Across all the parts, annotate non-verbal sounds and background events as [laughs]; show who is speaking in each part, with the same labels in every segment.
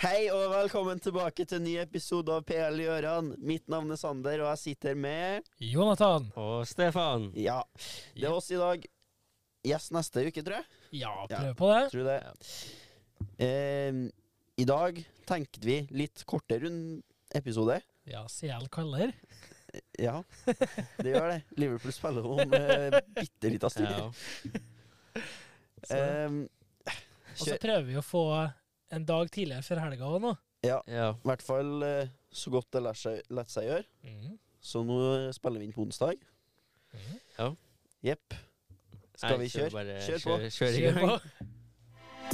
Speaker 1: Hei og velkommen tilbake til en ny episode av PL Gjøran. Mitt navn er Sander, og jeg sitter med
Speaker 2: Jonathan.
Speaker 3: Og Stefan.
Speaker 1: Ja, det er oss i dag. Gjest neste uke, tror jeg.
Speaker 2: Ja,
Speaker 1: Ja.
Speaker 2: prøv på det.
Speaker 1: Tror det. Eh, I dag tenkte vi litt kortere rund episode.
Speaker 2: Ja, CL kaller.
Speaker 1: Ja, det gjør det. Liverpool spiller om eh, bitte lita stund.
Speaker 3: Ja.
Speaker 1: Eh,
Speaker 2: Og så
Speaker 1: kjør.
Speaker 2: prøver vi å få en dag tidligere før helga òg nå.
Speaker 3: ja.
Speaker 1: I hvert fall eh, så godt det lar seg, lar seg gjøre. Så nå spiller vi inn på onsdag. Jepp. Skal
Speaker 3: Nei,
Speaker 1: vi kjøre?
Speaker 3: Bare,
Speaker 1: Kjør på.
Speaker 3: Kjør, kjør i
Speaker 2: Kjør
Speaker 3: gang.
Speaker 2: på.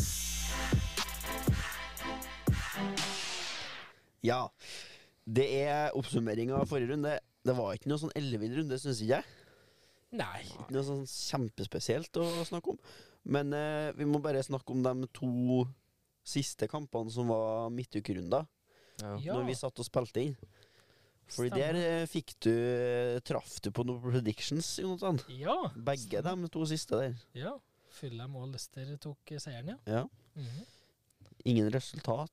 Speaker 1: Ja. Det er oppsummeringa av forrige runde. Det var ikke noe sånn ellevill runde, syns ikke jeg.
Speaker 2: Nei.
Speaker 1: Ikke noe sånn kjempespesielt å snakke om. Men eh, vi må bare snakke om de to siste kampene som var midtukerunder,
Speaker 2: Ja.
Speaker 1: når vi satt og spilte inn. Fordi
Speaker 2: Stemmer.
Speaker 1: der eh, fikk du eh, Traff du på noen predictions, Jonathan?
Speaker 2: Ja.
Speaker 1: Begge de to siste der.
Speaker 2: ja. Fulham og Leicester tok eh, seieren, ja.
Speaker 1: Ja.
Speaker 2: Mhm.
Speaker 1: Ingen resultat.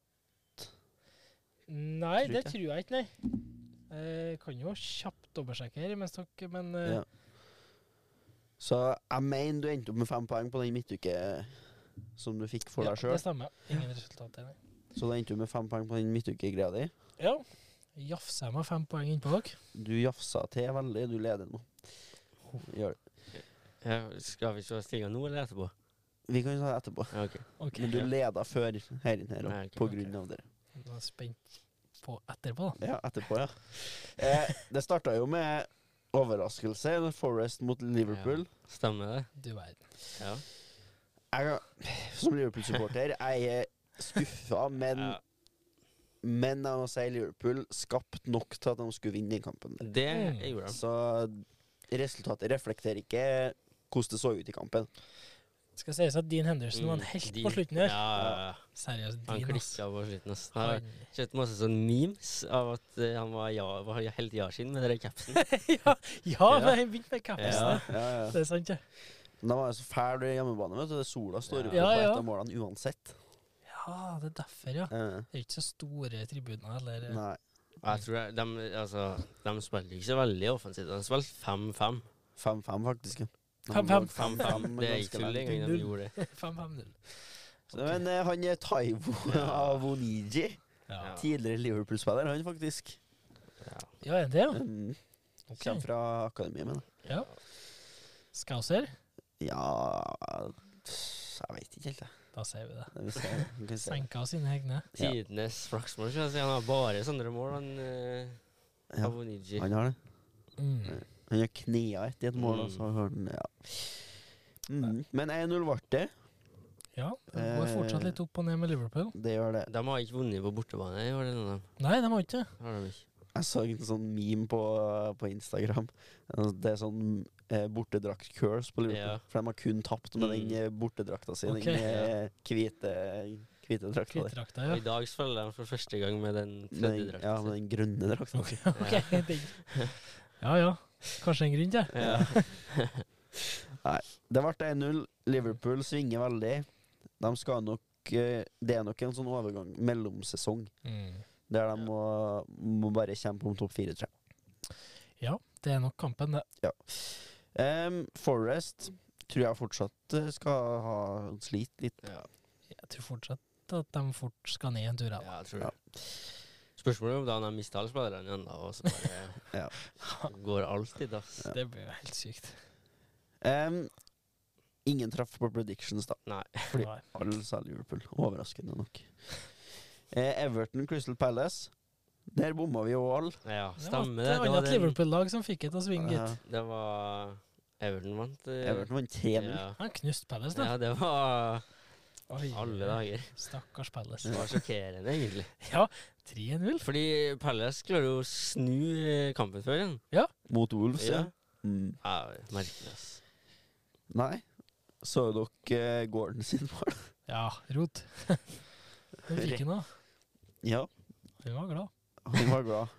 Speaker 2: Nei,
Speaker 1: Tror
Speaker 2: det
Speaker 1: ikke.
Speaker 2: tror jeg ikke, nei. Eh, kan jo kjapt dobbeltsjekke her mens dere Men eh,
Speaker 1: Ja. Så jeg mener du endte opp med fem poeng på den midtuke eh, som du fikk for
Speaker 2: ja,
Speaker 1: deg sjøl.
Speaker 2: det stemmer. Ingen resultater, nei.
Speaker 1: Så da endte du med fem poeng på den midtukegreia di.
Speaker 2: Ja. Jafsa meg fem poeng innpå dere.
Speaker 1: Du jafsa til veldig, du leder nå. Gjør det.
Speaker 3: Ja, skal vi se stillinga nå eller etterpå?
Speaker 1: Vi kan ta det etterpå.
Speaker 3: Ja, ok.
Speaker 2: Ok,
Speaker 1: Men du leda før her inne her,
Speaker 3: Nei,
Speaker 1: og
Speaker 3: ok,
Speaker 1: på
Speaker 3: ok.
Speaker 1: grunn av dere.
Speaker 2: Nå er jeg spent på etterpå, da.
Speaker 1: Ja, etterpå, ja. Eh, det starta jo med overraskelse. Forest mot Liverpool.
Speaker 3: Stemmer det?
Speaker 2: Du verden.
Speaker 3: Ja.
Speaker 1: Jeg, som Liverpool-supporter, jeg er skuffa, men,
Speaker 3: Ja.
Speaker 1: men jeg må si Liverpool skapte nok til at de skulle vinne den kampen. der.
Speaker 3: Det
Speaker 2: Mm.
Speaker 3: gjorde han.
Speaker 1: Så resultatet reflekterer ikke hvordan det så ut i kampen.
Speaker 2: Skal sies at Dean Henderson
Speaker 1: Mm,
Speaker 2: var en helt på slutten her.
Speaker 3: Mm. Ja, ja, ja.
Speaker 2: Seriøst,
Speaker 3: han
Speaker 2: Dean, ass.
Speaker 3: klikka på slutten. ass. Jeg har
Speaker 2: Han-
Speaker 3: sett masse sånn memes av at eh, han var, ja, var helt ja-skinn med den
Speaker 2: [laughs] [laughs]
Speaker 3: capsen.
Speaker 2: ja, ja,
Speaker 3: Ja.
Speaker 2: men han begynte med kapsen.
Speaker 3: Ja.
Speaker 1: Ja, ja.
Speaker 2: Det er sant, ja.
Speaker 1: Men de var jo så fæle hjemmebane, vet du. Det Sola står oppe
Speaker 2: Ja,
Speaker 1: på
Speaker 2: ja.
Speaker 1: et av målene uansett.
Speaker 2: Ja, det er derfor, ja.
Speaker 1: Eh,
Speaker 2: Det er ikke så store tribuner, eller [laughs] eh,
Speaker 1: nei.
Speaker 3: Jeg tror jeg, de, altså, de spiller ikke så veldig offensivt. De spilte 5-5.
Speaker 1: 5-5, faktisk. ja.
Speaker 2: 5-5.
Speaker 3: 5-5. Det er ikke så
Speaker 1: ganske
Speaker 3: lenge de gjorde det.
Speaker 2: 5-5-0.
Speaker 1: Så, Men eh, han er Taivo Avoniji,
Speaker 2: Ja.
Speaker 1: tidligere Liverpool-spiller, han faktisk.
Speaker 3: Ja.
Speaker 2: ja, er det det, ja?
Speaker 1: Mm.
Speaker 2: Ok.
Speaker 1: Kommer fra akademiet, mener jeg.
Speaker 2: ja. Skauser?
Speaker 1: Ja Jeg vet ikke helt, jeg.
Speaker 2: Da sier vi det.
Speaker 1: Det vil si-
Speaker 2: [laughs]
Speaker 1: vi kan si-
Speaker 2: Senka sine egne.
Speaker 1: Ja.
Speaker 3: Tidenes slagsmål, skal jeg si. Han har bare sånne mål, han eh,
Speaker 1: Ja.
Speaker 3: Avoniji.
Speaker 1: Han har det.
Speaker 2: Mm.
Speaker 1: Han har knea etter et mål, og så har han Ja. Mm. Men 1-0 ble det.
Speaker 2: Ja, det går fortsatt litt opp og ned med Liverpool.
Speaker 1: Det gjør det.
Speaker 3: De har ikke vunnet på bortebane i år, eller noe.
Speaker 2: Nei, de har ikke det.
Speaker 3: Har de ikke.
Speaker 1: Jeg så en sånn meme på, på Instagram. Det er sånn eh, bortedrakt-curse på Liverpool.
Speaker 3: Ja.
Speaker 1: For de har kun tapt med den
Speaker 3: Mm.
Speaker 1: eh, bortedrakta si,
Speaker 2: Ok.
Speaker 1: den eh, hvite, hvite drakta der.
Speaker 2: Kvittdrakta,
Speaker 3: Og
Speaker 2: ja.
Speaker 3: I dag spiller de for første gang med den
Speaker 1: Med den-
Speaker 3: tredje drakten.
Speaker 1: Ja, med den grønne drakta.
Speaker 2: Ok,
Speaker 3: [laughs]
Speaker 2: ok. [laughs] den- Ja ja. Kanskje en grunn til det.
Speaker 3: Ja. [laughs]
Speaker 1: Det ble 1-0. Liverpool svinger veldig. De skal nok eh, Det er nok en sånn overgang, mellomsesong,
Speaker 2: Mm.
Speaker 1: der de må, må bare kjempe om topp fire, tror jeg.
Speaker 2: Ja, det er nok kampen, det.
Speaker 1: Em, Forest tror jeg fortsatt eh, skal ha slitt litt.
Speaker 3: Ja.
Speaker 2: Jeg tror fortsatt at de fort skal ned en tur. Ja.
Speaker 3: jeg tror det. Spørsmålet er om da han har mista alle spillerne igjen, da, og så bare
Speaker 1: Ja.
Speaker 3: går alt i dass.
Speaker 2: Det blir jo helt sykt.
Speaker 1: Em, ingen traff på predictions, da.
Speaker 3: Nei.
Speaker 1: Fordi-
Speaker 2: Nei.
Speaker 1: Alle sa Liverpool. Overraskende nok. Eh, Everton Crystal Palace. Der bomma vi jo alle.
Speaker 3: Ja, stemmer
Speaker 2: det.
Speaker 3: det.
Speaker 2: var et
Speaker 3: var
Speaker 2: annet Liverpool-lag som fikk det til å svinge, gitt.
Speaker 3: det var Everton vant. eh,
Speaker 1: Everton vant 3-0.
Speaker 3: Ja.
Speaker 2: Han knuste Palace, da.
Speaker 3: ja, det var
Speaker 2: Oi,
Speaker 3: alle dager.
Speaker 2: Stakkars Palace.
Speaker 3: Det var sjokkerende, egentlig.
Speaker 2: Ja, 3-0.
Speaker 3: Fordi Palace klarer jo å snu eh, kampen før igjen.
Speaker 1: Mot Wolves, ja.
Speaker 3: Ja.
Speaker 1: Mm.
Speaker 3: ja merkelig, ass.
Speaker 1: Nei. Så dere eh, Gordon sin mål?
Speaker 2: Ja, rot. [laughs] Den fikk han, da.
Speaker 1: ja.
Speaker 2: Han var glad.
Speaker 1: Han var glad.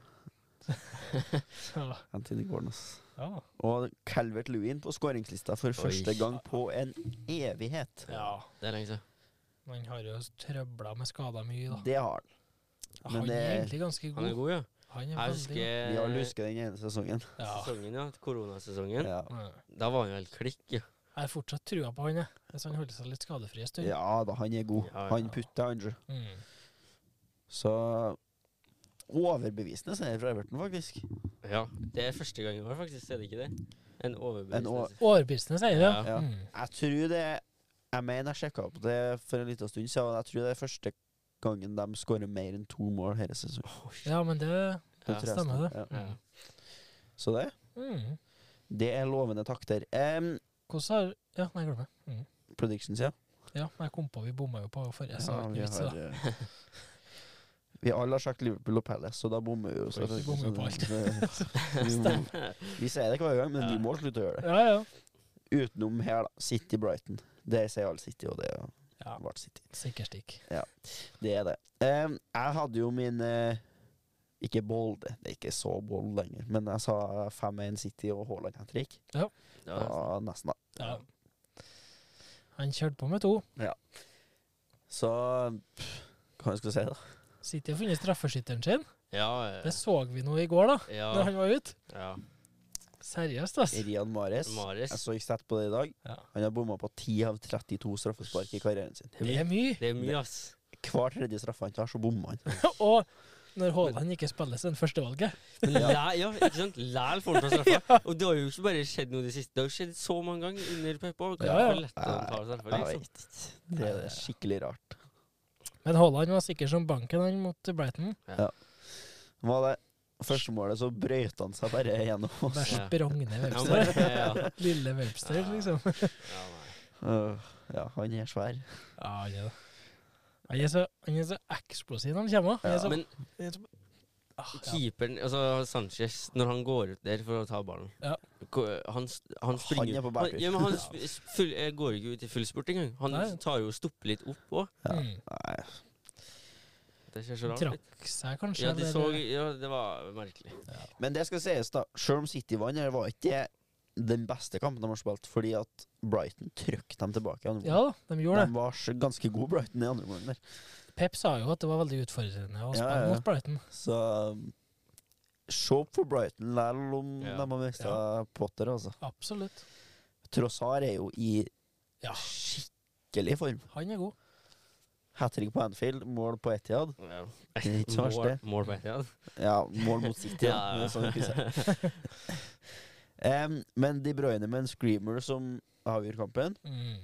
Speaker 2: Så,
Speaker 1: Anthony Gordon, ass.
Speaker 2: ja.
Speaker 1: Og Calvert Lewin på skåringslista for første gang på en evighet.
Speaker 3: Det er lenge siden.
Speaker 2: Men han har jo trøbla med skader mye, da.
Speaker 1: Det har han. men
Speaker 2: han er
Speaker 1: det-
Speaker 2: egentlig ganske
Speaker 3: Han er
Speaker 2: god.
Speaker 3: god, ja.
Speaker 2: Han er
Speaker 3: Jeg
Speaker 2: veldig god.
Speaker 1: Vi
Speaker 3: husker
Speaker 1: alle husker den ene sesongen.
Speaker 2: Ja.
Speaker 3: sesongen, eh, ja. Koronasesongen.
Speaker 1: Ja,
Speaker 2: Ja.
Speaker 3: Da var han jo helt klikk, ja.
Speaker 2: Jeg har fortsatt trua på han, jeg. Hvis han holder seg litt skadefri en stund.
Speaker 1: ja da, han er god.
Speaker 3: Ja, ja.
Speaker 1: Han putter, han.
Speaker 2: Mm.
Speaker 1: Så overbevisende seier fra Everton, faktisk.
Speaker 3: ja. Det er første gang i år, faktisk. Er det ikke det? En
Speaker 1: En å-
Speaker 3: overbeviselse.
Speaker 2: Overbevisende, sier du?
Speaker 3: Ja.
Speaker 1: Ja.
Speaker 2: Mm.
Speaker 1: Jeg tror det Jeg mener jeg sjekka opp det for en liten stund siden, og jeg tror det er første gangen de skårer mer enn to mål hele sesongen.
Speaker 2: ja, men det
Speaker 3: Ja.
Speaker 1: Tror jeg
Speaker 2: stemmer
Speaker 1: snart. Ja.
Speaker 3: Ja.
Speaker 1: Så det
Speaker 2: mm.
Speaker 1: Det er lovende takter. Um,
Speaker 2: Hvordan har Ja, nei, glem det. Mm.
Speaker 1: predictions, ja.
Speaker 2: Ja, men jeg kom på vi bomma jo på forrige, så
Speaker 1: ja
Speaker 2: det er ikke vits i det.
Speaker 1: eh, vi alle har sagt Liverpool og Palace, så da bommer vi jo. Så
Speaker 2: Oi, vi bommer jo på
Speaker 1: alt.
Speaker 2: alt.
Speaker 1: [laughs] vi, må, vi sier det hver gang, men vi må slutte å gjøre det.
Speaker 2: Ja, ja.
Speaker 1: Utenom her, da. City-Brighton. Det sier alle City, og det
Speaker 2: Ja.
Speaker 1: ble City.
Speaker 2: Sikker stikk.
Speaker 1: Det er det. Em, jeg hadde jo min eh, Ikke bolde, det er ikke så bold lenger, men jeg sa 5-1 City og Haaland hat trick.
Speaker 3: Ja.
Speaker 1: Ja, nesten, da.
Speaker 2: Ja. Han kjørte på med to.
Speaker 1: Så pff, hva skal jeg si, da?
Speaker 2: City har funnet straffeskytteren sin.
Speaker 3: Ja.
Speaker 2: Det så vi nå i går, da. Når
Speaker 3: Ja.
Speaker 2: han var ute.
Speaker 3: ja.
Speaker 2: Seriøst, ass.
Speaker 1: Rian Mares. Jeg
Speaker 3: Maris.
Speaker 1: så ikke sett på det i dag.
Speaker 2: Ja.
Speaker 1: Han har bomma på 10 av 32 straffespark i karrieren sin.
Speaker 2: Det er mye. [laughs]
Speaker 3: Det er mye, ass.
Speaker 1: Hver tredje straffe han tar, så bommer han.
Speaker 2: Og når Haaland ikke spiller som førstevalget
Speaker 3: Men læ- ja, ikke sant? Læl får han ta
Speaker 2: [laughs]
Speaker 3: straffa. Og det har jo ikke bare skjedd noe i det siste. Det har jo skjedd så mange ganger under Peppa. Det
Speaker 2: Ja,
Speaker 3: er
Speaker 2: ja.
Speaker 3: for lett å ta straffa,
Speaker 1: Jeg
Speaker 3: liksom.
Speaker 1: vet ikke. Det er skikkelig rart.
Speaker 2: Men Haaland var sikker som banken han mot Brighton.
Speaker 1: Hva var det? Første målet så brøyt han seg bare gjennom oss.
Speaker 2: Bare
Speaker 3: Ja.
Speaker 2: sprangne
Speaker 3: Han
Speaker 2: Webster.
Speaker 3: bare, ja.
Speaker 2: [laughs] Lille Webster,
Speaker 3: Ja.
Speaker 2: liksom.
Speaker 3: Ja, nei.
Speaker 1: Øh, ja, han er svær.
Speaker 2: Ja, han er det. Han er så, han er så eksplosiv når han kommer. Han er så,
Speaker 3: Men
Speaker 2: han er så, ah, ja.
Speaker 3: keeperen, altså Sanchez, når han går ut der for å ta ballen
Speaker 2: Ja.
Speaker 3: ko- Han, s- han springer
Speaker 1: er på bærtur.
Speaker 3: Han, ja, men han sp- s- full, eh, går jo ikke ut i full spurt engang. Han
Speaker 2: Nei.
Speaker 3: tar jo og stopper litt opp òg.
Speaker 1: Ja.
Speaker 2: Mm.
Speaker 1: Nei,
Speaker 3: Det ser så rart ut.
Speaker 2: Trakk seg eh? kanskje,
Speaker 3: Ja, de så,
Speaker 2: eller
Speaker 3: ja, det var merkelig.
Speaker 1: Men det skal sies, da. Selv om City vant, her, var ikke det den beste kampen de har spilt, fordi at Brighton trøkk dem tilbake. i andre
Speaker 2: Ja da, de gjorde
Speaker 1: omgang.
Speaker 2: det.
Speaker 1: De var så ganske gode, Brighton, i andre omgang der.
Speaker 2: Pep sa jo at det var veldig utfordrende å
Speaker 1: Ja,
Speaker 2: spille
Speaker 1: ja, ja.
Speaker 2: mot Brighton.
Speaker 1: Så um, se opp for Brighton, selv om
Speaker 3: Ja.
Speaker 1: de har mista Potter, altså.
Speaker 2: Absolutt.
Speaker 1: Trossar er jo i
Speaker 2: Ja.
Speaker 1: skikkelig form.
Speaker 2: Han er god.
Speaker 1: Hat trick på Anfield, mål på Etiad.
Speaker 3: Ja.
Speaker 1: Det er ikke så verst, det.
Speaker 3: Mål- Mål på ett, ja.
Speaker 1: Ja, mål mot
Speaker 3: [laughs]
Speaker 1: City, da.
Speaker 3: Ja, ja.
Speaker 1: men sånn ikke sant. um, men De Bruyne med en screamer som avgjør kampen.
Speaker 2: Mm.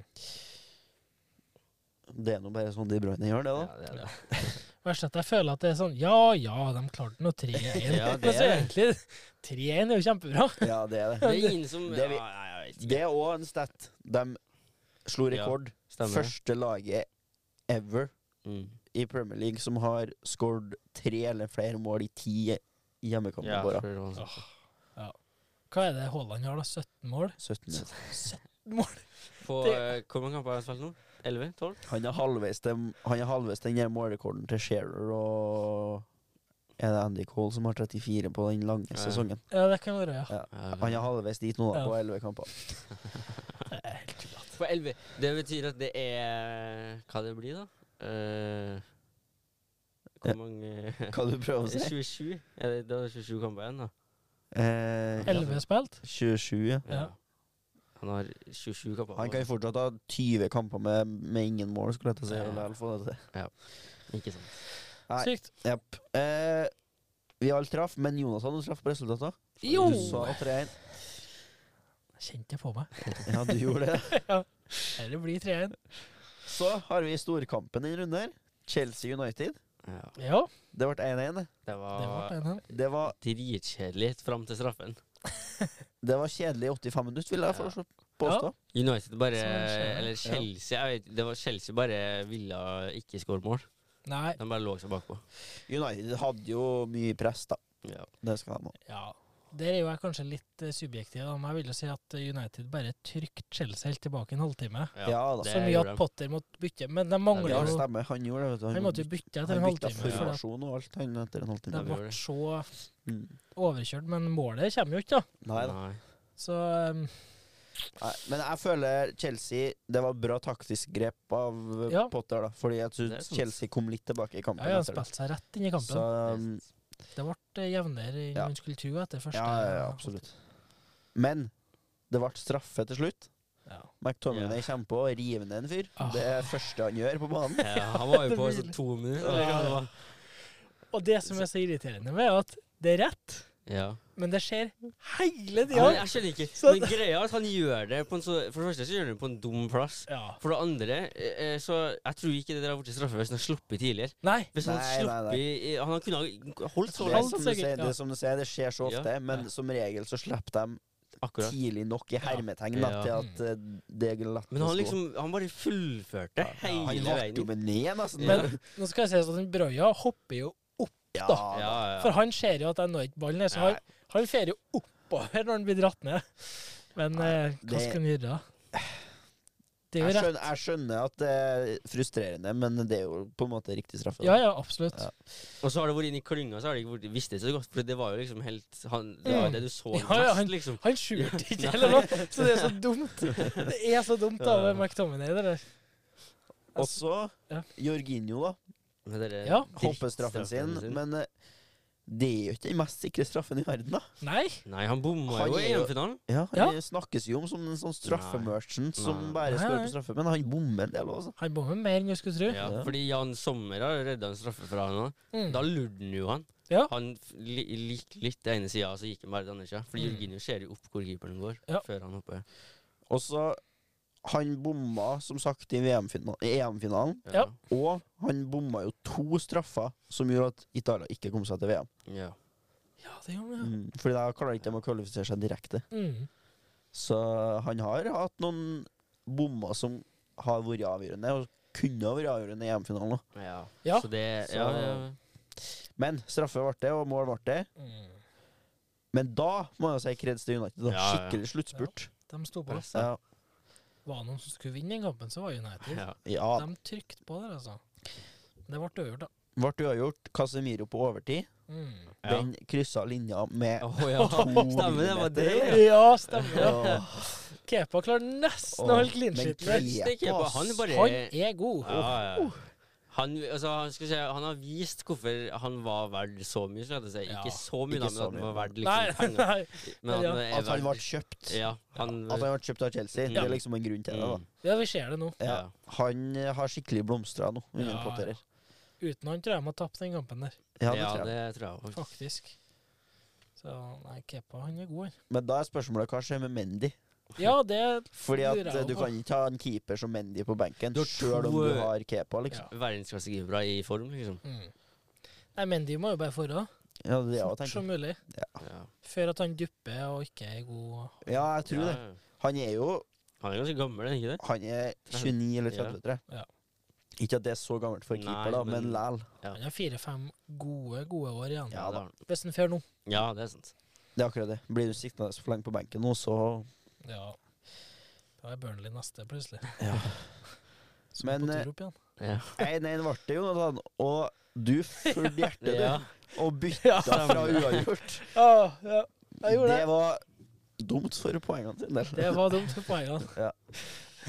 Speaker 1: Det er nå bare sånn De Bruyne gjør det, da.
Speaker 3: Ja, det er det.
Speaker 2: Verst at jeg føler at det er sånn Ja, ja, de klarte nå
Speaker 1: [laughs]
Speaker 2: 3-1.
Speaker 3: Ja, det
Speaker 2: Men så
Speaker 3: er det.
Speaker 2: egentlig 3-1 er jo kjempebra.
Speaker 1: Ja, det er det.
Speaker 3: [laughs] Det er ingen som
Speaker 1: det er vi-
Speaker 3: ja, jeg vet ikke.
Speaker 1: Det er òg en stat. De slo
Speaker 3: Ja,
Speaker 1: rekord.
Speaker 3: Stemmer.
Speaker 1: Første laget ever
Speaker 3: Mm.
Speaker 1: i Premier League som har skåret tre eller flere mål i ti hjemmekamper
Speaker 3: Ja,
Speaker 1: på rad.
Speaker 3: for det var sånn.
Speaker 2: Hva er det Haaland har, da? 17 mål?
Speaker 1: 17.
Speaker 3: På eh, hvor mange kamper har jeg spilt nå? 11? 12?
Speaker 1: Han er halvveis til- han er halvveis til den her målrekorden til Shearer og Er det Andy Cole som har 34 på den lange
Speaker 3: Ja.
Speaker 1: sesongen?
Speaker 2: Ja, det kan være, ja.
Speaker 1: Ja.
Speaker 3: Ja,
Speaker 1: Han er halvveis dit nå, da,
Speaker 2: Ja.
Speaker 1: på 11 kamper.
Speaker 2: [laughs]
Speaker 3: På 11. Det betyr at det er Hva det blir, da? Eh,
Speaker 1: Ja.
Speaker 3: hvor mange
Speaker 1: Hva du prøver å si?
Speaker 3: 27? Ja, det, det var 27 kamper igjen, da.
Speaker 1: Eh,
Speaker 2: 11 er spilt.
Speaker 1: 27, ja.
Speaker 2: Ja.
Speaker 3: Han har 27 kamper.
Speaker 1: Han kan jo fortsatt ha 20 kamper med, med ingen mål, skulle jeg til å si.
Speaker 3: Ja.
Speaker 1: og likevel få det til.
Speaker 3: Ikke sant.
Speaker 1: Nei.
Speaker 2: Sykt.
Speaker 1: Japp. Eh, vi alle traff, men Jonas hadde traff på resultatet.
Speaker 2: Jo!
Speaker 1: Du sa 3-1.
Speaker 2: Kjente jeg på meg.
Speaker 1: Ja, du gjorde det. [laughs]
Speaker 2: Eller blir 3-1.
Speaker 1: Så har vi storkampen i en runde her. Chelsea United.
Speaker 3: Ja.
Speaker 2: Ja,
Speaker 1: Det ble 1-1. det.
Speaker 3: Det var,
Speaker 2: det
Speaker 1: Ah.
Speaker 2: ble 1-1.
Speaker 1: Det var,
Speaker 3: dritkjedelig fram til straffen.
Speaker 1: det var kjedelig i 85 minutter, vil jeg
Speaker 3: Ja.
Speaker 1: foreslå- påstå.
Speaker 3: United bare
Speaker 2: Som skjer.
Speaker 3: Eller Chelsea. Jeg vet, det var Chelsea bare ville ikke skåre mål.
Speaker 2: Nei,
Speaker 3: De bare lå seg bakpå.
Speaker 1: United hadde jo mye press, da.
Speaker 3: Ja.
Speaker 1: Det skal de ha.
Speaker 2: ja. Der er jo jeg kanskje litt eh, subjektiv, da, men jeg vil jo si at eh, United bare trykte Chelsea helt tilbake en halvtime.
Speaker 1: Ja da.
Speaker 3: det
Speaker 2: Så mye
Speaker 3: gjorde
Speaker 2: at
Speaker 3: de.
Speaker 2: Potter måtte bytte, men de mangler
Speaker 1: Ja,
Speaker 2: jo
Speaker 1: stemmer. Han gjorde det. vet du.
Speaker 2: Han måtte jo bytte etter en
Speaker 1: han bytta
Speaker 2: halvtime.
Speaker 3: ja.
Speaker 2: For at
Speaker 1: formasjon og alt han etter en halvtime.
Speaker 2: de
Speaker 3: Ja, vi gjorde
Speaker 2: ble
Speaker 3: det.
Speaker 2: så
Speaker 1: Mm.
Speaker 2: overkjørt, men målet kommer jo ikke, da.
Speaker 1: Nei da.
Speaker 3: Nei.
Speaker 2: Så um,
Speaker 1: Nei, men jeg føler Chelsea Det var bra taktisk grep av eh,
Speaker 2: Ja.
Speaker 1: Potter, da. Fordi jeg
Speaker 3: Det er
Speaker 1: syns
Speaker 3: sant.
Speaker 1: Chelsea kom litt tilbake i kampen.
Speaker 2: Ja, ja, han
Speaker 1: etter det.
Speaker 2: spilte seg rett inn i kampen.
Speaker 1: Så um,
Speaker 2: det ble eh, jevnere enn
Speaker 1: ja.
Speaker 2: man skulle tro etter første.
Speaker 1: ja, ja, ja, absolutt. Men det ble straffe til slutt.
Speaker 2: Ja.
Speaker 1: McTominay kommer på og river ned en fyr.
Speaker 2: Ah.
Speaker 1: Det er første han gjør på banen.
Speaker 3: Ja, han var jo
Speaker 1: [laughs]
Speaker 2: Det
Speaker 3: på
Speaker 2: blir
Speaker 3: i sånn
Speaker 2: litt-
Speaker 3: to minutter. eller hva det var.
Speaker 2: Og det som er så irriterende med, er at det er rett,
Speaker 3: Ja.
Speaker 2: men det skjer hele
Speaker 3: Ja, men
Speaker 2: tida.
Speaker 3: jeg skjønner ikke.
Speaker 2: Så-
Speaker 3: Men greia er at han gjør det på en så For det første så gjør han det på en dum plass.
Speaker 2: Ja.
Speaker 3: For det andre, eh, eh, så jeg tror ikke det der har blitt straffe hvis han har sluppet tidligere.
Speaker 2: Nei.
Speaker 3: Hvis han
Speaker 1: Nei, nei, nei.
Speaker 3: sluppet Han kunne ha holdt så
Speaker 1: Det er
Speaker 3: langt.
Speaker 2: Alt
Speaker 1: som du
Speaker 2: sikkert,
Speaker 1: sier, det,
Speaker 2: ja.
Speaker 1: er som du sier, det skjer så
Speaker 3: Ja.
Speaker 1: ofte, men
Speaker 3: Ja.
Speaker 1: som regel så slipper de
Speaker 3: Akkurat.
Speaker 1: tidlig nok i
Speaker 2: Ja.
Speaker 1: hermetegn da,
Speaker 3: Ja.
Speaker 1: til at eh, det er lett
Speaker 3: Men
Speaker 1: å
Speaker 3: han
Speaker 1: slå.
Speaker 3: liksom Han bare fullførte
Speaker 1: Han
Speaker 3: hele
Speaker 1: vatt
Speaker 3: veien.
Speaker 1: jo med ned, nesten.
Speaker 2: Men nå skal jeg si at den Brøya hopper jo
Speaker 1: altså. ja,
Speaker 2: da.
Speaker 3: Ja,
Speaker 1: da.
Speaker 3: ja.
Speaker 2: For han ser jo at jeg når ikke ballen, så han,
Speaker 1: Nei.
Speaker 2: han fer jo oppover når han blir dratt ned. Men
Speaker 1: Nei,
Speaker 2: eh, hva
Speaker 1: det-
Speaker 2: skal han gjøre da? Det er
Speaker 1: Jeg
Speaker 2: jo rett.
Speaker 1: skjønner, jeg skjønner at det er frustrerende, men det er jo på en måte riktig straffe. da.
Speaker 2: Ja, ja, absolutt.
Speaker 1: Ja.
Speaker 3: Og så har det vært inni klynga, så har det ikke vært visst det så godt. For det var jo liksom helt han, Det var jo
Speaker 2: Mm.
Speaker 3: det du så
Speaker 2: Ja, ja, han-
Speaker 3: mest, liksom.
Speaker 2: Han
Speaker 1: [laughs]
Speaker 2: skjulte ikke eller noe, så det er så dumt. Det er så
Speaker 1: [laughs]
Speaker 2: dumt da med
Speaker 3: Ja.
Speaker 2: McTominay. Det der.
Speaker 1: Og så
Speaker 2: altså, Ja.
Speaker 1: Jorginho, da.
Speaker 3: Med dere
Speaker 2: Ja,
Speaker 1: Hopper straffen sin. Men eh, det er jo ikke den mest sikre straffen i verden, da.
Speaker 2: Nei.
Speaker 3: Nei, han bomma
Speaker 1: Han
Speaker 3: jo i
Speaker 1: er jo-
Speaker 3: EM-finalen.
Speaker 1: Ja,
Speaker 2: Ja.
Speaker 1: Det snakkes jo om som en sånn straffemerchant som
Speaker 3: Nei.
Speaker 1: bare
Speaker 2: Nei,
Speaker 1: skårer
Speaker 2: nei.
Speaker 1: på straffe, men han bommer en del også. altså.
Speaker 2: Han bommer mer enn du skulle tro.
Speaker 3: Ja,
Speaker 1: Ja.
Speaker 3: fordi Jan Sommer har redda en straffe fra han òg.
Speaker 2: Mm.
Speaker 3: Da lurte han jo han.
Speaker 2: Ja.
Speaker 3: Han f- li gikk litt den ene sida, og så gikk han bare den andre sida. Fordi
Speaker 2: Mm.
Speaker 3: Jorginho ser jo opp hvor keeperen går,
Speaker 2: Ja.
Speaker 3: før han hopper.
Speaker 1: Og så Han bomma, som sagt, i VM-finalen, EM-finalen,
Speaker 2: Ja.
Speaker 1: og han bomma jo to straffer som gjorde at Italia ikke kom seg til VM.
Speaker 3: Ja.
Speaker 2: Ja, det gjør
Speaker 1: Mm.
Speaker 2: han,
Speaker 1: Fordi da klarer ikke de å kvalifisere seg direkte.
Speaker 2: ja. Mm.
Speaker 1: Så han har hatt noen bommer som har vært avgjørende, og kunne ha vært avgjørende i EM-finalen. også.
Speaker 3: Ja.
Speaker 2: Ja.
Speaker 3: Så det
Speaker 1: Så-
Speaker 3: ja, ja.
Speaker 1: Men straffe ble det, og mål ble det.
Speaker 2: Mm.
Speaker 1: Men da må jeg si kreds til United. Da.
Speaker 3: Ja, ja.
Speaker 1: Skikkelig sluttspurt.
Speaker 2: De sto på.
Speaker 3: Pressa.
Speaker 1: Ja.
Speaker 2: Var det noen som skulle vinne den kampen, så var United.
Speaker 3: Ja.
Speaker 1: ja.
Speaker 2: De trykte på der, altså. Det ble uavgjort, da.
Speaker 1: Ble uavgjort. Casemiro på overtid.
Speaker 2: Mm.
Speaker 3: Ja.
Speaker 1: Den kryssa linja med
Speaker 3: Å ja. Stemmer, det var det. ja.
Speaker 2: Ja, stemmer. det.
Speaker 1: Åh,
Speaker 2: Kepa klarer nesten
Speaker 1: Åh,
Speaker 2: å holde clean
Speaker 1: men eh,
Speaker 2: sheet.
Speaker 1: Kepa,
Speaker 2: der.
Speaker 3: Helst ikke,
Speaker 1: ass.
Speaker 3: bare- Han bare
Speaker 2: Han er god.
Speaker 3: Ja, ja. Han, altså, han, skal si, han har vist hvorfor han var verdt så mye, skal jeg si.
Speaker 2: Ja.
Speaker 3: Ikke så mye,
Speaker 1: Ikke
Speaker 3: da, men
Speaker 1: så
Speaker 3: at han
Speaker 1: mye.
Speaker 3: var verdt
Speaker 2: Nei,
Speaker 3: liksom penger.
Speaker 2: nei.
Speaker 3: Men at
Speaker 2: [laughs] Ja.
Speaker 3: han er
Speaker 1: At han ble
Speaker 3: verdt
Speaker 1: kjøpt.
Speaker 3: Ja, han
Speaker 1: At han ble kjøpt av Chelsea, det
Speaker 3: Ja.
Speaker 1: er liksom en grunn til det. da
Speaker 3: Mm.
Speaker 2: Ja, vi ser det nå.
Speaker 1: ja.
Speaker 3: Ja.
Speaker 1: Han eh, har skikkelig blomstra nå, under
Speaker 2: Ja,
Speaker 1: Potter her.
Speaker 2: Uten han tror jeg de har tapt den kampen der,
Speaker 1: Ja, det
Speaker 3: ja,
Speaker 1: tror jeg.
Speaker 3: det tror jeg. også.
Speaker 2: faktisk. Så nei, Kepa han er god, han.
Speaker 1: Men da er spørsmålet hva skjer med Mendy?
Speaker 2: Ja, det
Speaker 1: Fordi at
Speaker 2: Lurer jeg
Speaker 1: eh, du
Speaker 2: på.
Speaker 1: kan ikke ha en keeper som Mendy på benken,
Speaker 3: Du har
Speaker 1: sjøl om
Speaker 3: to,
Speaker 1: du
Speaker 3: eh,
Speaker 1: har Kepa, liksom.
Speaker 2: ja.
Speaker 3: Verdensklassekeepere i form, liksom.
Speaker 2: Mm. Nei, Mendy må jo bare forra
Speaker 1: Ja, det er det jeg
Speaker 2: fort
Speaker 1: tenker.
Speaker 2: som mulig.
Speaker 1: Ah,
Speaker 3: Ja.
Speaker 2: Før at han dupper og ikke er god.
Speaker 1: Ja, jeg tror
Speaker 3: Ja,
Speaker 1: det.
Speaker 3: ja.
Speaker 1: Han er jo
Speaker 3: Han er ganske gammel, er han ikke det?
Speaker 1: Han er 29 eller 30, tror
Speaker 2: Ja.
Speaker 1: jeg. Ikke at det er så gammelt for
Speaker 3: Nei,
Speaker 1: keeper, da, men
Speaker 3: men-
Speaker 1: læl.
Speaker 2: Han har fire-fem gode, gode år igjen.
Speaker 1: Ja,
Speaker 3: det
Speaker 1: da.
Speaker 3: har han.
Speaker 2: Hvis han får nå.
Speaker 3: ja, det er sant.
Speaker 1: Det er akkurat det. Blir du sittende for lenge på benken nå, så
Speaker 2: Ja. Da er Burnley neste, plutselig.
Speaker 1: Ja.
Speaker 2: Så
Speaker 1: Men,
Speaker 2: på
Speaker 1: eh,
Speaker 2: tur opp igjen.
Speaker 1: 1-1 ble det, Jonathan. Og du fulgte hjertet,
Speaker 3: Ja.
Speaker 1: du. Og bytta fra uavgjort.
Speaker 2: Ah, ja. [laughs] Jeg gjorde
Speaker 1: Det
Speaker 2: det.
Speaker 1: var dumt for poengene sine.
Speaker 2: Det var dumt for altså. poengene.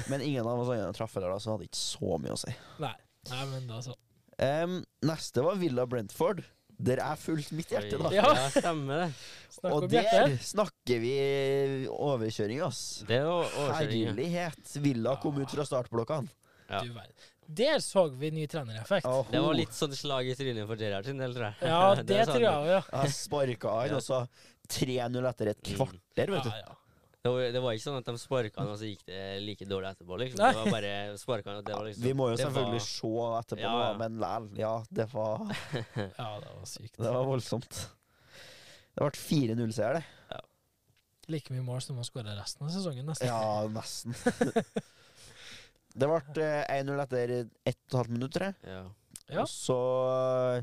Speaker 1: Men ingen av oss andre traff heller, da, så hadde ikke så mye å si.
Speaker 2: Nei. Nei, men da så.
Speaker 1: Em, neste var Villa Brentford, der jeg fulgte mitt hjerte, da.
Speaker 2: Ja.
Speaker 3: ja, stemmer det.
Speaker 2: Snakk
Speaker 1: Og
Speaker 2: om
Speaker 1: der
Speaker 2: hjertet.
Speaker 1: snakker vi overkjøring, ass.
Speaker 3: Det var overkjøring. ja.
Speaker 1: Herlighet. Villa kom ut fra startblokkene.
Speaker 3: Ja.
Speaker 2: Du verden. Der så vi ny trenereffekt.
Speaker 1: Aho.
Speaker 3: Det var litt sånn slag i trynet for Gerhard sin del, tror jeg.
Speaker 1: [laughs]
Speaker 2: [laughs]
Speaker 3: [laughs]
Speaker 2: Ja, det,
Speaker 3: sa han
Speaker 2: tror jeg
Speaker 3: jo.
Speaker 2: òg, ja.
Speaker 1: Jeg sparka han,
Speaker 3: Ja. Mm.
Speaker 1: og så 3-0 etter et kvarter, vet du.
Speaker 2: Ja, ja.
Speaker 3: Det var, det var ikke sånn at de sparka han, og så gikk det like dårlig etterpå. liksom.
Speaker 2: Nei.
Speaker 3: Det var bare sparka han, og det var liksom
Speaker 1: Vi må jo
Speaker 3: det
Speaker 1: selvfølgelig
Speaker 3: var,
Speaker 1: se etterpå,
Speaker 3: Ja, ja.
Speaker 1: da, men læl. Ja, det var,
Speaker 2: ja, det var sykt.
Speaker 1: det var voldsomt. Det ble 4-0-seier, det.
Speaker 2: Like mye mål som å skåre resten av sesongen, nesten.
Speaker 1: Ja, nesten. [laughs] Det ble eh, 1-0 etter 1,5 minutt, tror jeg.
Speaker 3: Ja,
Speaker 2: Ja.
Speaker 1: Og så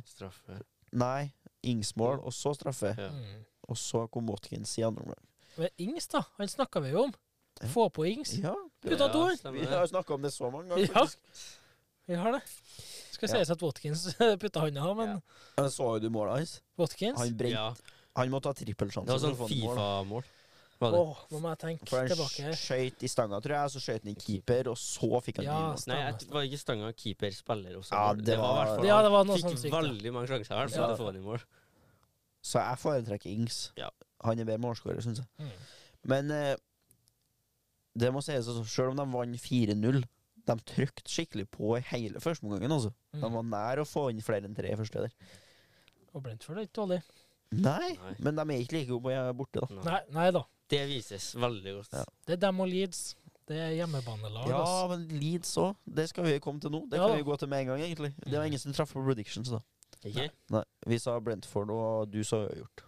Speaker 3: straffe.
Speaker 1: Nei, Ingsmål, og så straffe.
Speaker 3: Ja.
Speaker 2: Mm.
Speaker 1: Og så kom Watkins i andre omgang.
Speaker 2: Men Ings, da. Han snakka vi jo om. Få på Ings.
Speaker 1: Ja,
Speaker 2: Ut av doen.
Speaker 1: vi
Speaker 3: stemmer det.
Speaker 1: har jo snakka om det så mange ganger.
Speaker 2: [laughs] Ja.
Speaker 1: faktisk.
Speaker 2: Vi har det. Skal
Speaker 1: Ja.
Speaker 2: sies at Watkins [laughs] putta hånda, men
Speaker 3: Ja.
Speaker 1: Jeg Så jo du målet hans?
Speaker 2: Watkins
Speaker 1: Han brente
Speaker 3: Ja,
Speaker 1: Han måtte ha
Speaker 3: det
Speaker 1: trippelsjanse.
Speaker 3: var sånn
Speaker 1: for å få den mål, da.
Speaker 3: Fifa-mål. Var det?
Speaker 2: Åh, nå må jeg tenke
Speaker 1: For han
Speaker 2: tilbake. her.
Speaker 1: skjøt i stanga, tror jeg, så skjøt han i keeper, og så fikk han
Speaker 2: Ja,
Speaker 1: ja.
Speaker 3: Nei, jeg
Speaker 2: stemmer.
Speaker 3: var ikke stanga keeper, spiller også.
Speaker 1: Ja,
Speaker 3: mål.
Speaker 1: det
Speaker 3: i
Speaker 1: var-
Speaker 3: hvert fall-
Speaker 2: Ja, det var noe
Speaker 3: Fikk
Speaker 2: sånn sykt. ja.
Speaker 3: veldig mange sjanser i hvert fall
Speaker 2: Ja.
Speaker 3: til å få den i mål.
Speaker 1: Så jeg foretrekker Ings.
Speaker 3: Ja.
Speaker 1: Han er bedre målskårer, syns jeg.
Speaker 2: Mm.
Speaker 1: Men eh, det må sies at selv om de vant 4-0, de trykte skikkelig på i hele førsteomgangen. Altså. De
Speaker 2: Mm.
Speaker 1: var nær å få inn flere enn tre i første der.
Speaker 2: Og Brentford er ikke dårlig.
Speaker 1: Nei,
Speaker 3: Nei.
Speaker 1: men de er ikke like gode på- borte, da.
Speaker 3: Nei.
Speaker 2: Nei, nei da.
Speaker 3: Det vises veldig godt.
Speaker 1: Ja.
Speaker 2: Det er dem og Leeds. Det er hjemmebanelag.
Speaker 1: Ja,
Speaker 2: ass.
Speaker 1: men Leeds òg. Det skal vi komme til nå. Det
Speaker 2: Ja
Speaker 1: kan
Speaker 2: da.
Speaker 1: vi gå til med en gang, egentlig. Det var
Speaker 2: Mm.
Speaker 1: ingen som traff på predictions, da.
Speaker 3: Ikke?
Speaker 1: Nei, vi sa Brentford, og du sa Øyhjort.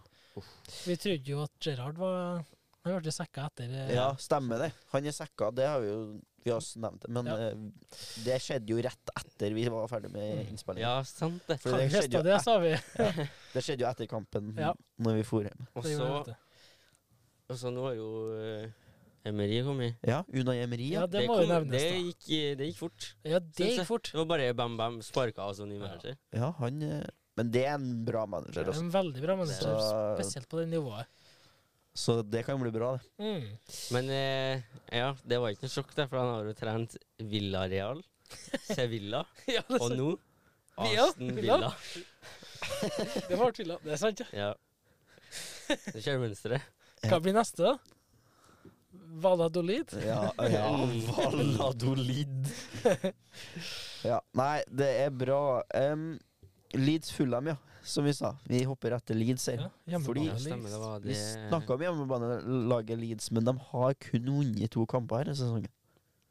Speaker 2: Vi trodde jo at Gerrard var Han ble sekka etter eh,
Speaker 1: Ja, stemmer det. Han er sekka, det har vi jo vi har også nevnt. det, Men
Speaker 2: Ja.
Speaker 1: eh, det skjedde jo rett etter vi var ferdig med
Speaker 2: Mm.
Speaker 1: innspillingen.
Speaker 3: Ja, sant det.
Speaker 1: For det
Speaker 2: Kan
Speaker 1: skjedde,
Speaker 2: gjeste
Speaker 1: jo
Speaker 2: det, sa vi.
Speaker 1: et- det skjedde jo etter kampen,
Speaker 2: Ja.
Speaker 1: når vi for hjem.
Speaker 3: Og
Speaker 2: Det gjorde
Speaker 3: så-
Speaker 2: det.
Speaker 3: og så nå er jo eh, Emery kommet.
Speaker 1: Ja, Unai Emery.
Speaker 2: Ja,
Speaker 1: Ja.
Speaker 2: det må jo
Speaker 3: kom-
Speaker 2: nevnes,
Speaker 3: det
Speaker 2: da.
Speaker 3: gikk, eh, det gikk fort.
Speaker 2: Ja, det
Speaker 3: Synes jeg.
Speaker 2: gikk fort.
Speaker 3: Det var bare bam, bam, sparka og sånn i manager.
Speaker 1: ja, han eh, Men det er en bra manager, altså.
Speaker 2: En veldig bra manager,
Speaker 1: Så,
Speaker 2: spesielt på det nivået.
Speaker 1: så det kan bli bra, det.
Speaker 2: Mm.
Speaker 3: Men eh, ja, det var ikke noe sjokk, der, for han har jo trent Villarreal, Sevilla
Speaker 2: [laughs] Ja, det,
Speaker 3: og
Speaker 2: er sant.
Speaker 3: nå
Speaker 2: Ja,
Speaker 3: Aston
Speaker 2: Villa.
Speaker 3: Villa.
Speaker 2: det var tvil, det er sant. ja.
Speaker 3: Ja. Du ser mønsteret.
Speaker 2: Hva blir neste, da? Valladolid?
Speaker 1: Ja, ja
Speaker 3: [laughs] Mm.
Speaker 1: Valladolid. [laughs] ja, nei, det er bra. Em, Leeds Fulham, ja, som vi sa. Vi hopper etter Leeds her.
Speaker 2: Ja,
Speaker 1: Fordi-
Speaker 3: Ja,
Speaker 2: hjemmebane.
Speaker 3: stemmer, det var
Speaker 1: Vi
Speaker 3: det.
Speaker 1: snakka om hjemmebanelaget Leeds, men de har kun vunnet to kamper her i sesongen.